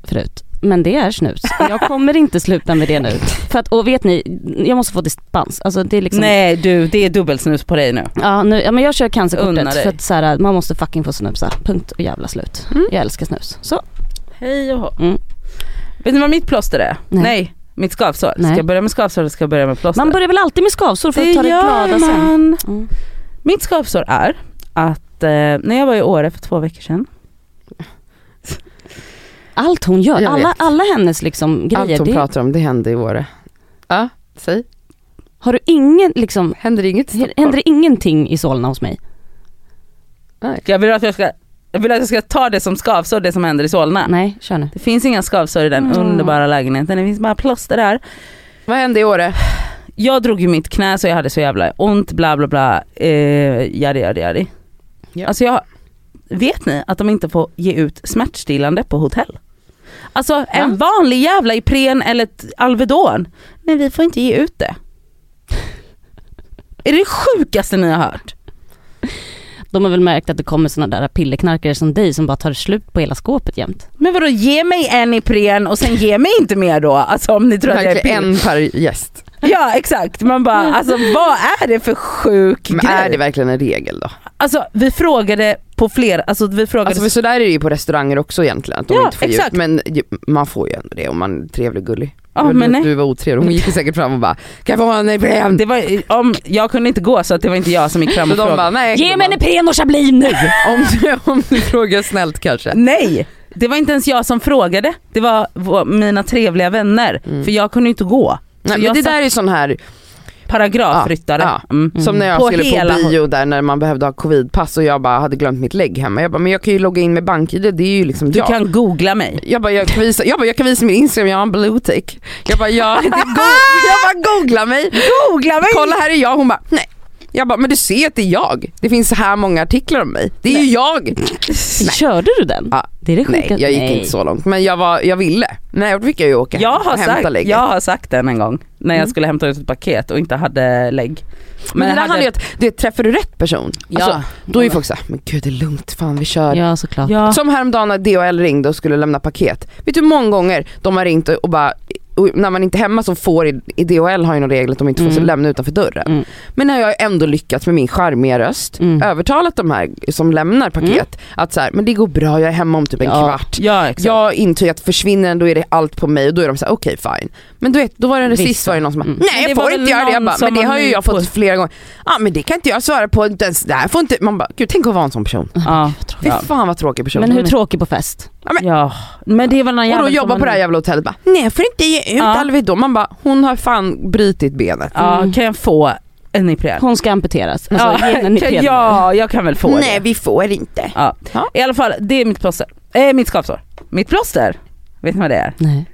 B: förut. Men det är snus. Jag kommer inte sluta med det nu. För att, och vet ni, jag måste få dispens. Alltså det är liksom,
D: Nej du, det är dubbelsnus på dig nu.
B: Ja, nu, ja men jag kör
D: Unna
B: cancerkortet
D: dig.
B: för att så här, man måste fucking få snusa. Punkt och jävla slut. Jag älskar snus. Så,
D: Hej och hå.
B: Mm.
D: Vet ni vad mitt plåster är?
B: Nej.
D: Nej. mitt skavsår.
B: Nej.
D: Ska jag börja med skavsår eller ska jag börja med plåster?
B: man börjar väl alltid med skavsår
D: Alltså,
B: för att ta det glada sen.
D: man.
B: Mm.
D: Mitt skavsår är att eh, när jag var i Åre för två veckor sedan.
B: Allt hon gör,
I: Jag
B: alla,
I: vet.
B: alla hennes liksom grejer.
I: Allt hon
B: Det,
I: pratar om det hände i Åre. Ja, säg.
B: har du ingen liksom,
I: Händer inget i Stockholm?
B: händer det ingenting i Solna hos mig?
D: Jag vill att jag ska, jag vill att jag ska ta det som skavsår, det som händer i Solna.
B: Ah, Nej, kör nu.
D: Det finns inga skavsår i den
B: Mm.
D: underbara lägenheten, det finns bara plåster där.
I: Vad hände i Åre?
D: Jag drog ju mitt knä så jag hade så jävla ont, bla bla bla, eh, yadi yadi yadi.
I: Ja.
D: Alltså jag, vet ni att de inte får ge ut smärtstillande på hotell? Alltså en vanlig jävla Ipren eller ett Alvedon. Men vi får inte ge ut det. Är det det sjukaste ni har hört?
B: De har väl märkt att det kommer sådana där pilleknarkare som dig som bara tar slut på hela skåpet jämt.
D: Men vadå ge mig en Ipren och sen ge mig inte mer då? Alltså om ni tror att jag är
I: Verkligen
D: pill.
I: en per gäst.
D: Ja exakt, man bara alltså vad är det för sjuk
I: Men
D: grej?
I: är det verkligen en regel då?
D: Alltså vi frågade på flera, alltså vi frågade
I: Alltså för sådär är det ju på restauranger också egentligen. Att de
D: Ja,
I: inte får ge ut.
D: exakt.
I: Men ju- man får ju ändå det om man är trevlig och gullig.
D: Ja,
I: Jag vet
D: men
I: att
D: nej.
I: du var otrevlig, hon gick ju säkert fram och bara “Kan jag få en Ipren?”
D: Det var, om, jag kunde inte gå så att det var inte jag som gick fram
I: Så
D: och
I: de bara
D: frågade.
I: “Nej”.
B: Ge mig en Ipren och Chablis nu!
I: om, du, om du frågar snällt kanske.
D: Nej! Det var inte ens jag som frågade, det var vå- mina trevliga vänner.
I: Mm.
D: För jag kunde ju inte gå.
I: Nej,
D: Så
I: men
D: jag
I: det
D: satt
I: där är ju sån här,
D: paragrafryttare.
I: Ja, ja.
D: Mm.
I: Ah, som när jag
D: På
I: skulle
D: hela-
I: på bio där när man behövde ha covidpass och jag bara hade glömt mitt lägg hemma. Jag bara, men jag kan ju logga in med bank-id, det är ju liksom
D: Du
I: jag.
D: kan googla mig.
I: Jag bara, jag kan visa, jag bara, jag kan visa min Instagram, jag har en blue tick. Jag bara, jag, det go- jag bara googla mig.
D: Googla mig!
I: Kolla här är jag, hon bara, nej. Jag bara, men du ser att det är jag. Det finns så här många artiklar om mig. Det är ju jag.
B: Körde du den?
I: Ja.
B: Det är det
I: Nej,
B: sjukaste.
I: jag gick inte så långt. Men jag, var, jag ville. Nej, då fick jag ju åka
D: Jag
I: hem
D: har,
I: och hämta
D: sagt,
I: lägget. Mm.
D: jag har sagt den en gång när jag skulle hämta ut ett paket och inte hade lägg.
I: men, det där
D: hade-
I: handlar ju om att, det, träffar du rätt person,
D: Ja.
I: alltså, då är ju folk såhär, men gud det är lugnt, fan vi kör.
B: Ja såklart.
D: Ja.
I: Som häromdagen när DHL ringde och skulle lämna paket. Vet du hur många gånger de har ringt och bara, och när man inte är hemma så får, i, i DHL har ju någon regel att de inte får
B: Mm.
I: lämna utanför dörren.
B: Mm.
I: Men när jag ändå lyckats med min charmiga röst
B: Mm.
I: övertalat de här som lämnar paket att så här, men det går bra, jag är hemma om typ en
B: Ja.
I: kvart.
D: Ja exakt.
I: Jag intygar att försvinner den då är det allt på mig och då är de såhär okej fine. Men du vet, då var det
B: Vissa.
I: sist var det någon som bara,
B: Mm.
I: nej
D: Men det
I: jag
D: var
I: får
D: väl
I: inte göra det. Jag
D: någon
I: bara,
D: som
I: men det
D: man
I: har ju jag
D: får-
I: fått flera gånger. Ja ah, men det kan inte jag svara på, inte ens, det här får inte, man bara gud tänk att vara en sån person.
D: ja.
I: Fy
D: Ja.
I: fan vad tråkig person.
B: Men hur tråkig på fest?
D: ja. Men det var någon
I: Och då
D: jävel som
I: jobbar
D: var
I: på det här
D: ny.
I: jävla hotellet bara, nej jag får inte ge ut
D: Ja.
I: Alvedon. Man bara, hon har fan brutit benet. Mm.
D: Ja, kan jag få en Ipren?
B: Hon ska amputeras. Alltså, ge henne en
D: kan,
B: Ipren.
D: ja, jag kan väl få det.
I: vi får inte.
D: Ja.
I: Ja.
D: I alla fall, det är mitt plåster. Eh, mitt skavsår. Mitt plåster, vet ni vad det är?
B: Nej.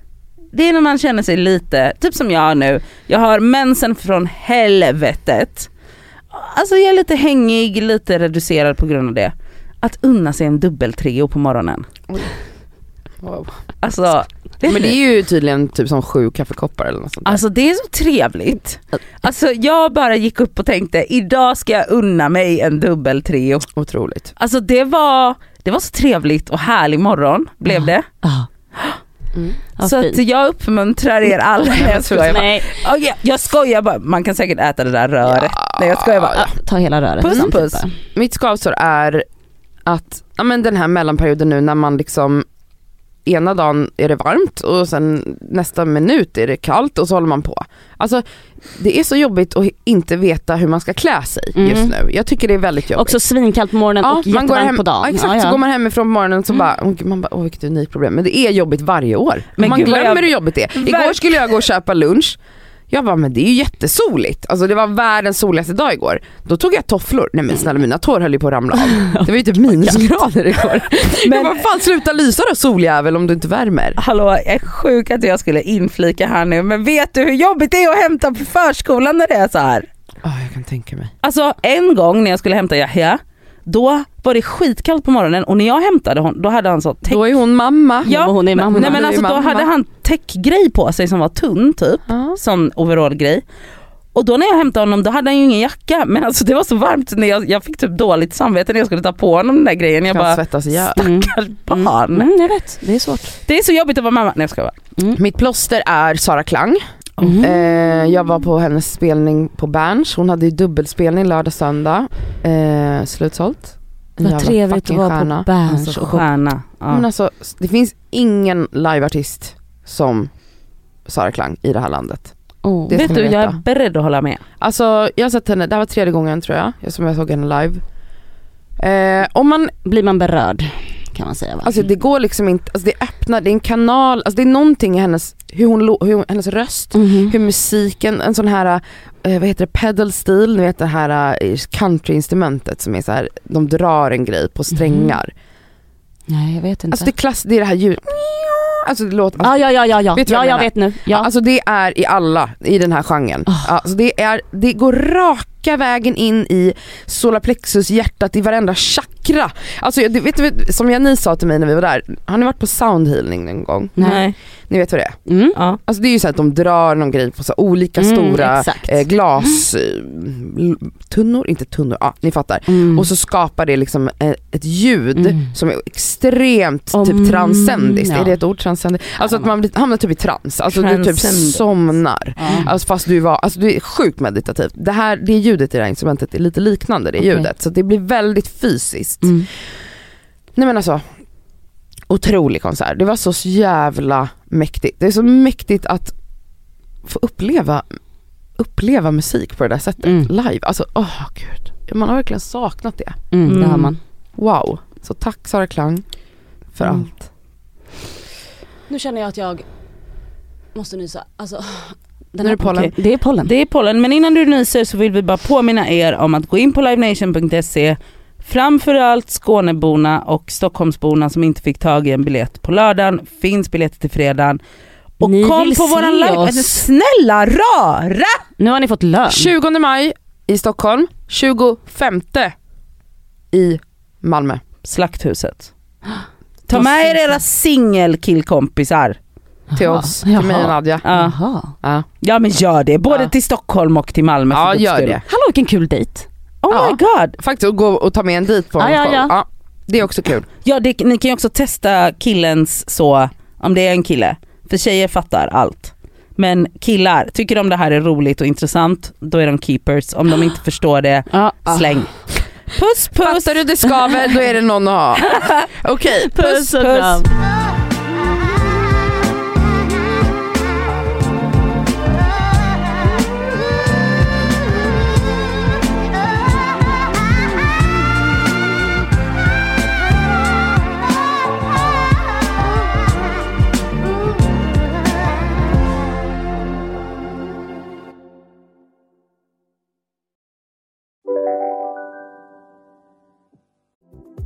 D: det är när man känner sig lite, typ som jag nu, jag har mensen från helvetet. Alltså jag är lite hängig, lite reducerad på grund av det. Att unna sig en dubbeltreo på morgonen.
I: Wow.
D: Alltså,
I: Men det är ju tydligen typ som sju kaffekoppar eller något sånt där.
D: Alltså det är så trevligt. Alltså jag bara gick upp och tänkte idag ska jag unna mig en dubbeltreo.
I: Otroligt.
D: Alltså det var, det var så trevligt och härlig morgon blev det.
B: Ja.
I: Mm.
B: Ja,
D: så att
B: fint.
D: jag uppmuntrar er alla. Nej, jag skojar bara.
B: Nej,
D: Oh, ja, jag skojar bara, man kan säkert äta det där röret. Nej jag skojar bara.
B: ja, ta hela röret.
D: Puss,
B: samtidigt
D: puss.
B: bara.
I: Mitt skavsår är att, ja men den här mellanperioden nu när man liksom ena dagen är det varmt och sen nästa minut är det kallt och så håller man på. Alltså det är så jobbigt att inte veta hur man ska klä sig just
B: Mm.
I: nu. Jag tycker det är väldigt jobbigt.
B: Också svinkallt på morgonen och
I: man går
B: jättevarmt
I: hem,
B: på dagen.
I: Ja, exakt,
B: Ja, ja.
I: så går man hemifrån på morgonen så bara, åh, gud, man bara, åh vilket unikt problem. Men det är jobbigt varje år.
D: Men
I: man
D: gud, vad
I: glömmer
D: jag-
I: hur jobbigt det är. Igår
D: Verkligen.
I: skulle jag gå och köpa lunch. Jag bara, men det är ju jättesoligt. Alltså det var världens soligaste dag igår. Då tog jag tofflor. Nej men snälla mina tår höll ju på att ramla av. Det var ju typ minusgrader igår. Men... Jag bara, fan sluta lysa då soljävel om du inte värmer.
D: Hallå, jag är sjuk att jag skulle inflika här nu men vet du hur jobbigt det är att hämta på förskolan när det är så här?
I: Ja Ah, jag kan tänka mig.
D: Alltså en gång när jag skulle hämta Yahya, då var det skitkallt på morgonen och när jag hämtade honom då hade han så täck...
I: Då är hon mamma.
D: Ja,
B: hon är mamma.
D: Nej men
I: är
D: alltså då
I: mamma.
D: hade han täckgrej på sig som var tunn typ,
I: Ja.
D: sån overallgrej. Och då när jag hämtade honom då hade han ju ingen jacka men alltså det var så varmt när jag, jag fick typ dåligt samvete när jag skulle ta på honom den där grejen. Jag
I: Jag kan
D: bara,
I: svettas ihjäl.
B: Mm.
D: stackars barn.
B: Mm, jag vet, det är svårt. Mm.
D: Det är så jobbigt att vara mamma. Nej jag skojar bara.
I: Mitt plåster är Sara Klang.
B: Mm-hmm.
I: Eh, jag var på hennes spelning på Berns. Hon hade ju dubbelspelning lördag söndag. Eh, slutsålt. En
B: Vad
I: jävla
B: trevligt att
I: fucking
B: vara
I: stjärna.
B: på Berns
D: Alltså
B: och shoppa.
D: stjärna. Ja.
I: Men alltså, det finns ingen liveartist som Sara Klang i det här landet.
B: Åh.
I: Det ska
D: Vet
I: ni
D: du, jag är
I: veta.
D: beredd att hålla med.
I: Alltså jag har sett henne, det här var tredje gången tror jag, jag- som jag såg henne live. Eh, om man,
B: Blir man berörd kan man säga va?
I: alltså det går liksom inte, alltså det öppnar, det är en kanal, alltså det är någonting i hennes, hur hon, lo- hur hon hennes röst
B: Mhm.
I: hur musiken, en sån här, eh, vad heter det, pedalstil, ni vet det här eh, countryinstrumentet som är så här, de drar en grej
B: Mhm.
I: på strängar.
B: Nej jag vet inte.
I: Alltså det är klass, det är det här ljudet, alltså det låter,
B: ah,
I: alltså,
B: ja ja ja ja,
I: Vet du
B: ja
I: vad jag
B: jag
I: menar?
B: vet nu. Ja.
I: alltså det är i alla, i den här genren.
B: Ah.
I: Alltså det, är, det går raka vägen in i solarplexus hjärtat i varenda chakra. Alltså jag- det- vet du, som Janice sa till mig när vi var där, har ni varit på soundhealing någon gång?
B: Nej.
I: Ni vet vad det är?
B: Mm.
D: Ja.
I: Alltså det är ju så att de drar någon grej på så här olika
B: Mm,
I: stora
B: exakt.
I: eh, glastunnor, inte tunnor, ja ni fattar.
B: Mm.
I: Och så skapar det liksom eh, ett ljud
B: Mm.
I: som är extremt
B: Om-
I: typ transcendiskt,
B: ja.
I: är det ett ord? Transcendiskt? Alltså att man blir, hamnar typ i trans, alltså du typ
D: Transcendiskt.
I: somnar.
D: Ja.
I: Alltså fast du var, alltså det är sjukt meditativt. Det här, det ljudet i det här instrumentet är lite liknande det
B: Okej.
I: ljudet, så det blir väldigt fysiskt.
B: Mm.
I: Nej men alltså, otrolig konsert. Det var så jävla mäktigt. Det är så mäktigt att få uppleva, uppleva musik på det där sättet,
B: Mm.
I: live. Alltså åh gud, man har verkligen saknat det.
B: Mm, Det
D: Mm.
B: har man.
I: Wow. Så tack Sara Klang för
B: Mm.
I: allt.
B: Nu känner jag att jag måste nysa. Alltså, den
I: Nu är det pollen.
B: Okej, Det är pollen.
D: Det är pollen, men innan du nyser så vill vi bara påminna er om att gå in på livenation.se Framförallt Skåneborna och Stockholmsborna som inte fick tag i en biljett på lördagen. Finns biljetter till fredagen. Och
B: Ni
D: kom
B: vill
D: på
B: se
D: våran live.
B: oss.
D: Alltså, Snälla rara!
B: Nu har ni fått lön.
I: 20 maj i Stockholm, 25 i Malmö.
D: Slakthuset. Ta med er era singelkillkompisar.
I: Till
B: Jaha.
I: oss, till mig och
B: Jaha.
I: Nadja.
D: Ja.
B: Jaha.
I: Ja,
D: ja men gör det, både
I: Ja.
D: till Stockholm och till Malmö. för
I: ja
D: guds
I: gör
D: skull.
I: det.
B: Hallå vilken kul dejt.
D: Oh
I: Ja.
D: my god.
I: Faktiskt, och gå och ta med en dit på
B: Ja,
I: en
B: ja,
I: show.
B: ja.
I: Ja, Det är också kul.
D: Ja, det, ni kan ju också testa killens så, om det är en kille. För tjejer fattar allt. Men killar, tycker de det här är roligt och intressant, då är de keepers. Om de inte förstår det,
B: Ja.
D: släng. Ah. Puss puss!
I: Fattar du det skaver, då är det någon att ha. Okej,
D: Puss, puss.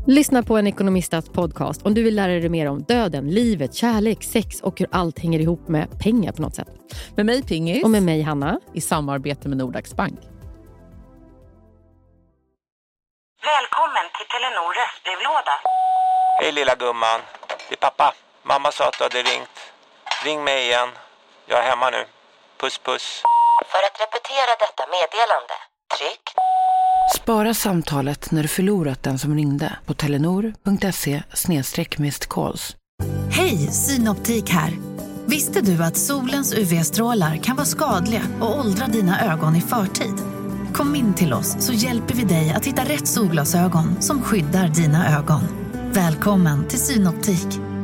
J: Lyssna på en ekonomistats podcast om du vill lära dig mer om döden, livet, kärlek, sex och hur allt hänger ihop med pengar på något sätt.
K: Med mig Pingis,
J: Och med mig Hanna.
K: i samarbete med Nordax Bank.
L: Välkommen till Telenor röstbrevlåda.
M: Hej lilla gumman. Det är pappa. Mamma sa att du hade ringt. Ring mig igen. Jag är hemma nu. Puss puss.
L: För att repetera detta meddelande, tryck
N: Spara samtalet när du förlorat den som ringde på telenor.se calls.
L: Hej, Synoptik här. Visste du att solens UV-strålar kan vara skadliga och åldra dina ögon i förtid? Kom in till oss så hjälper vi dig att hitta rätt solglasögon som skyddar dina ögon. Välkommen till Synoptik.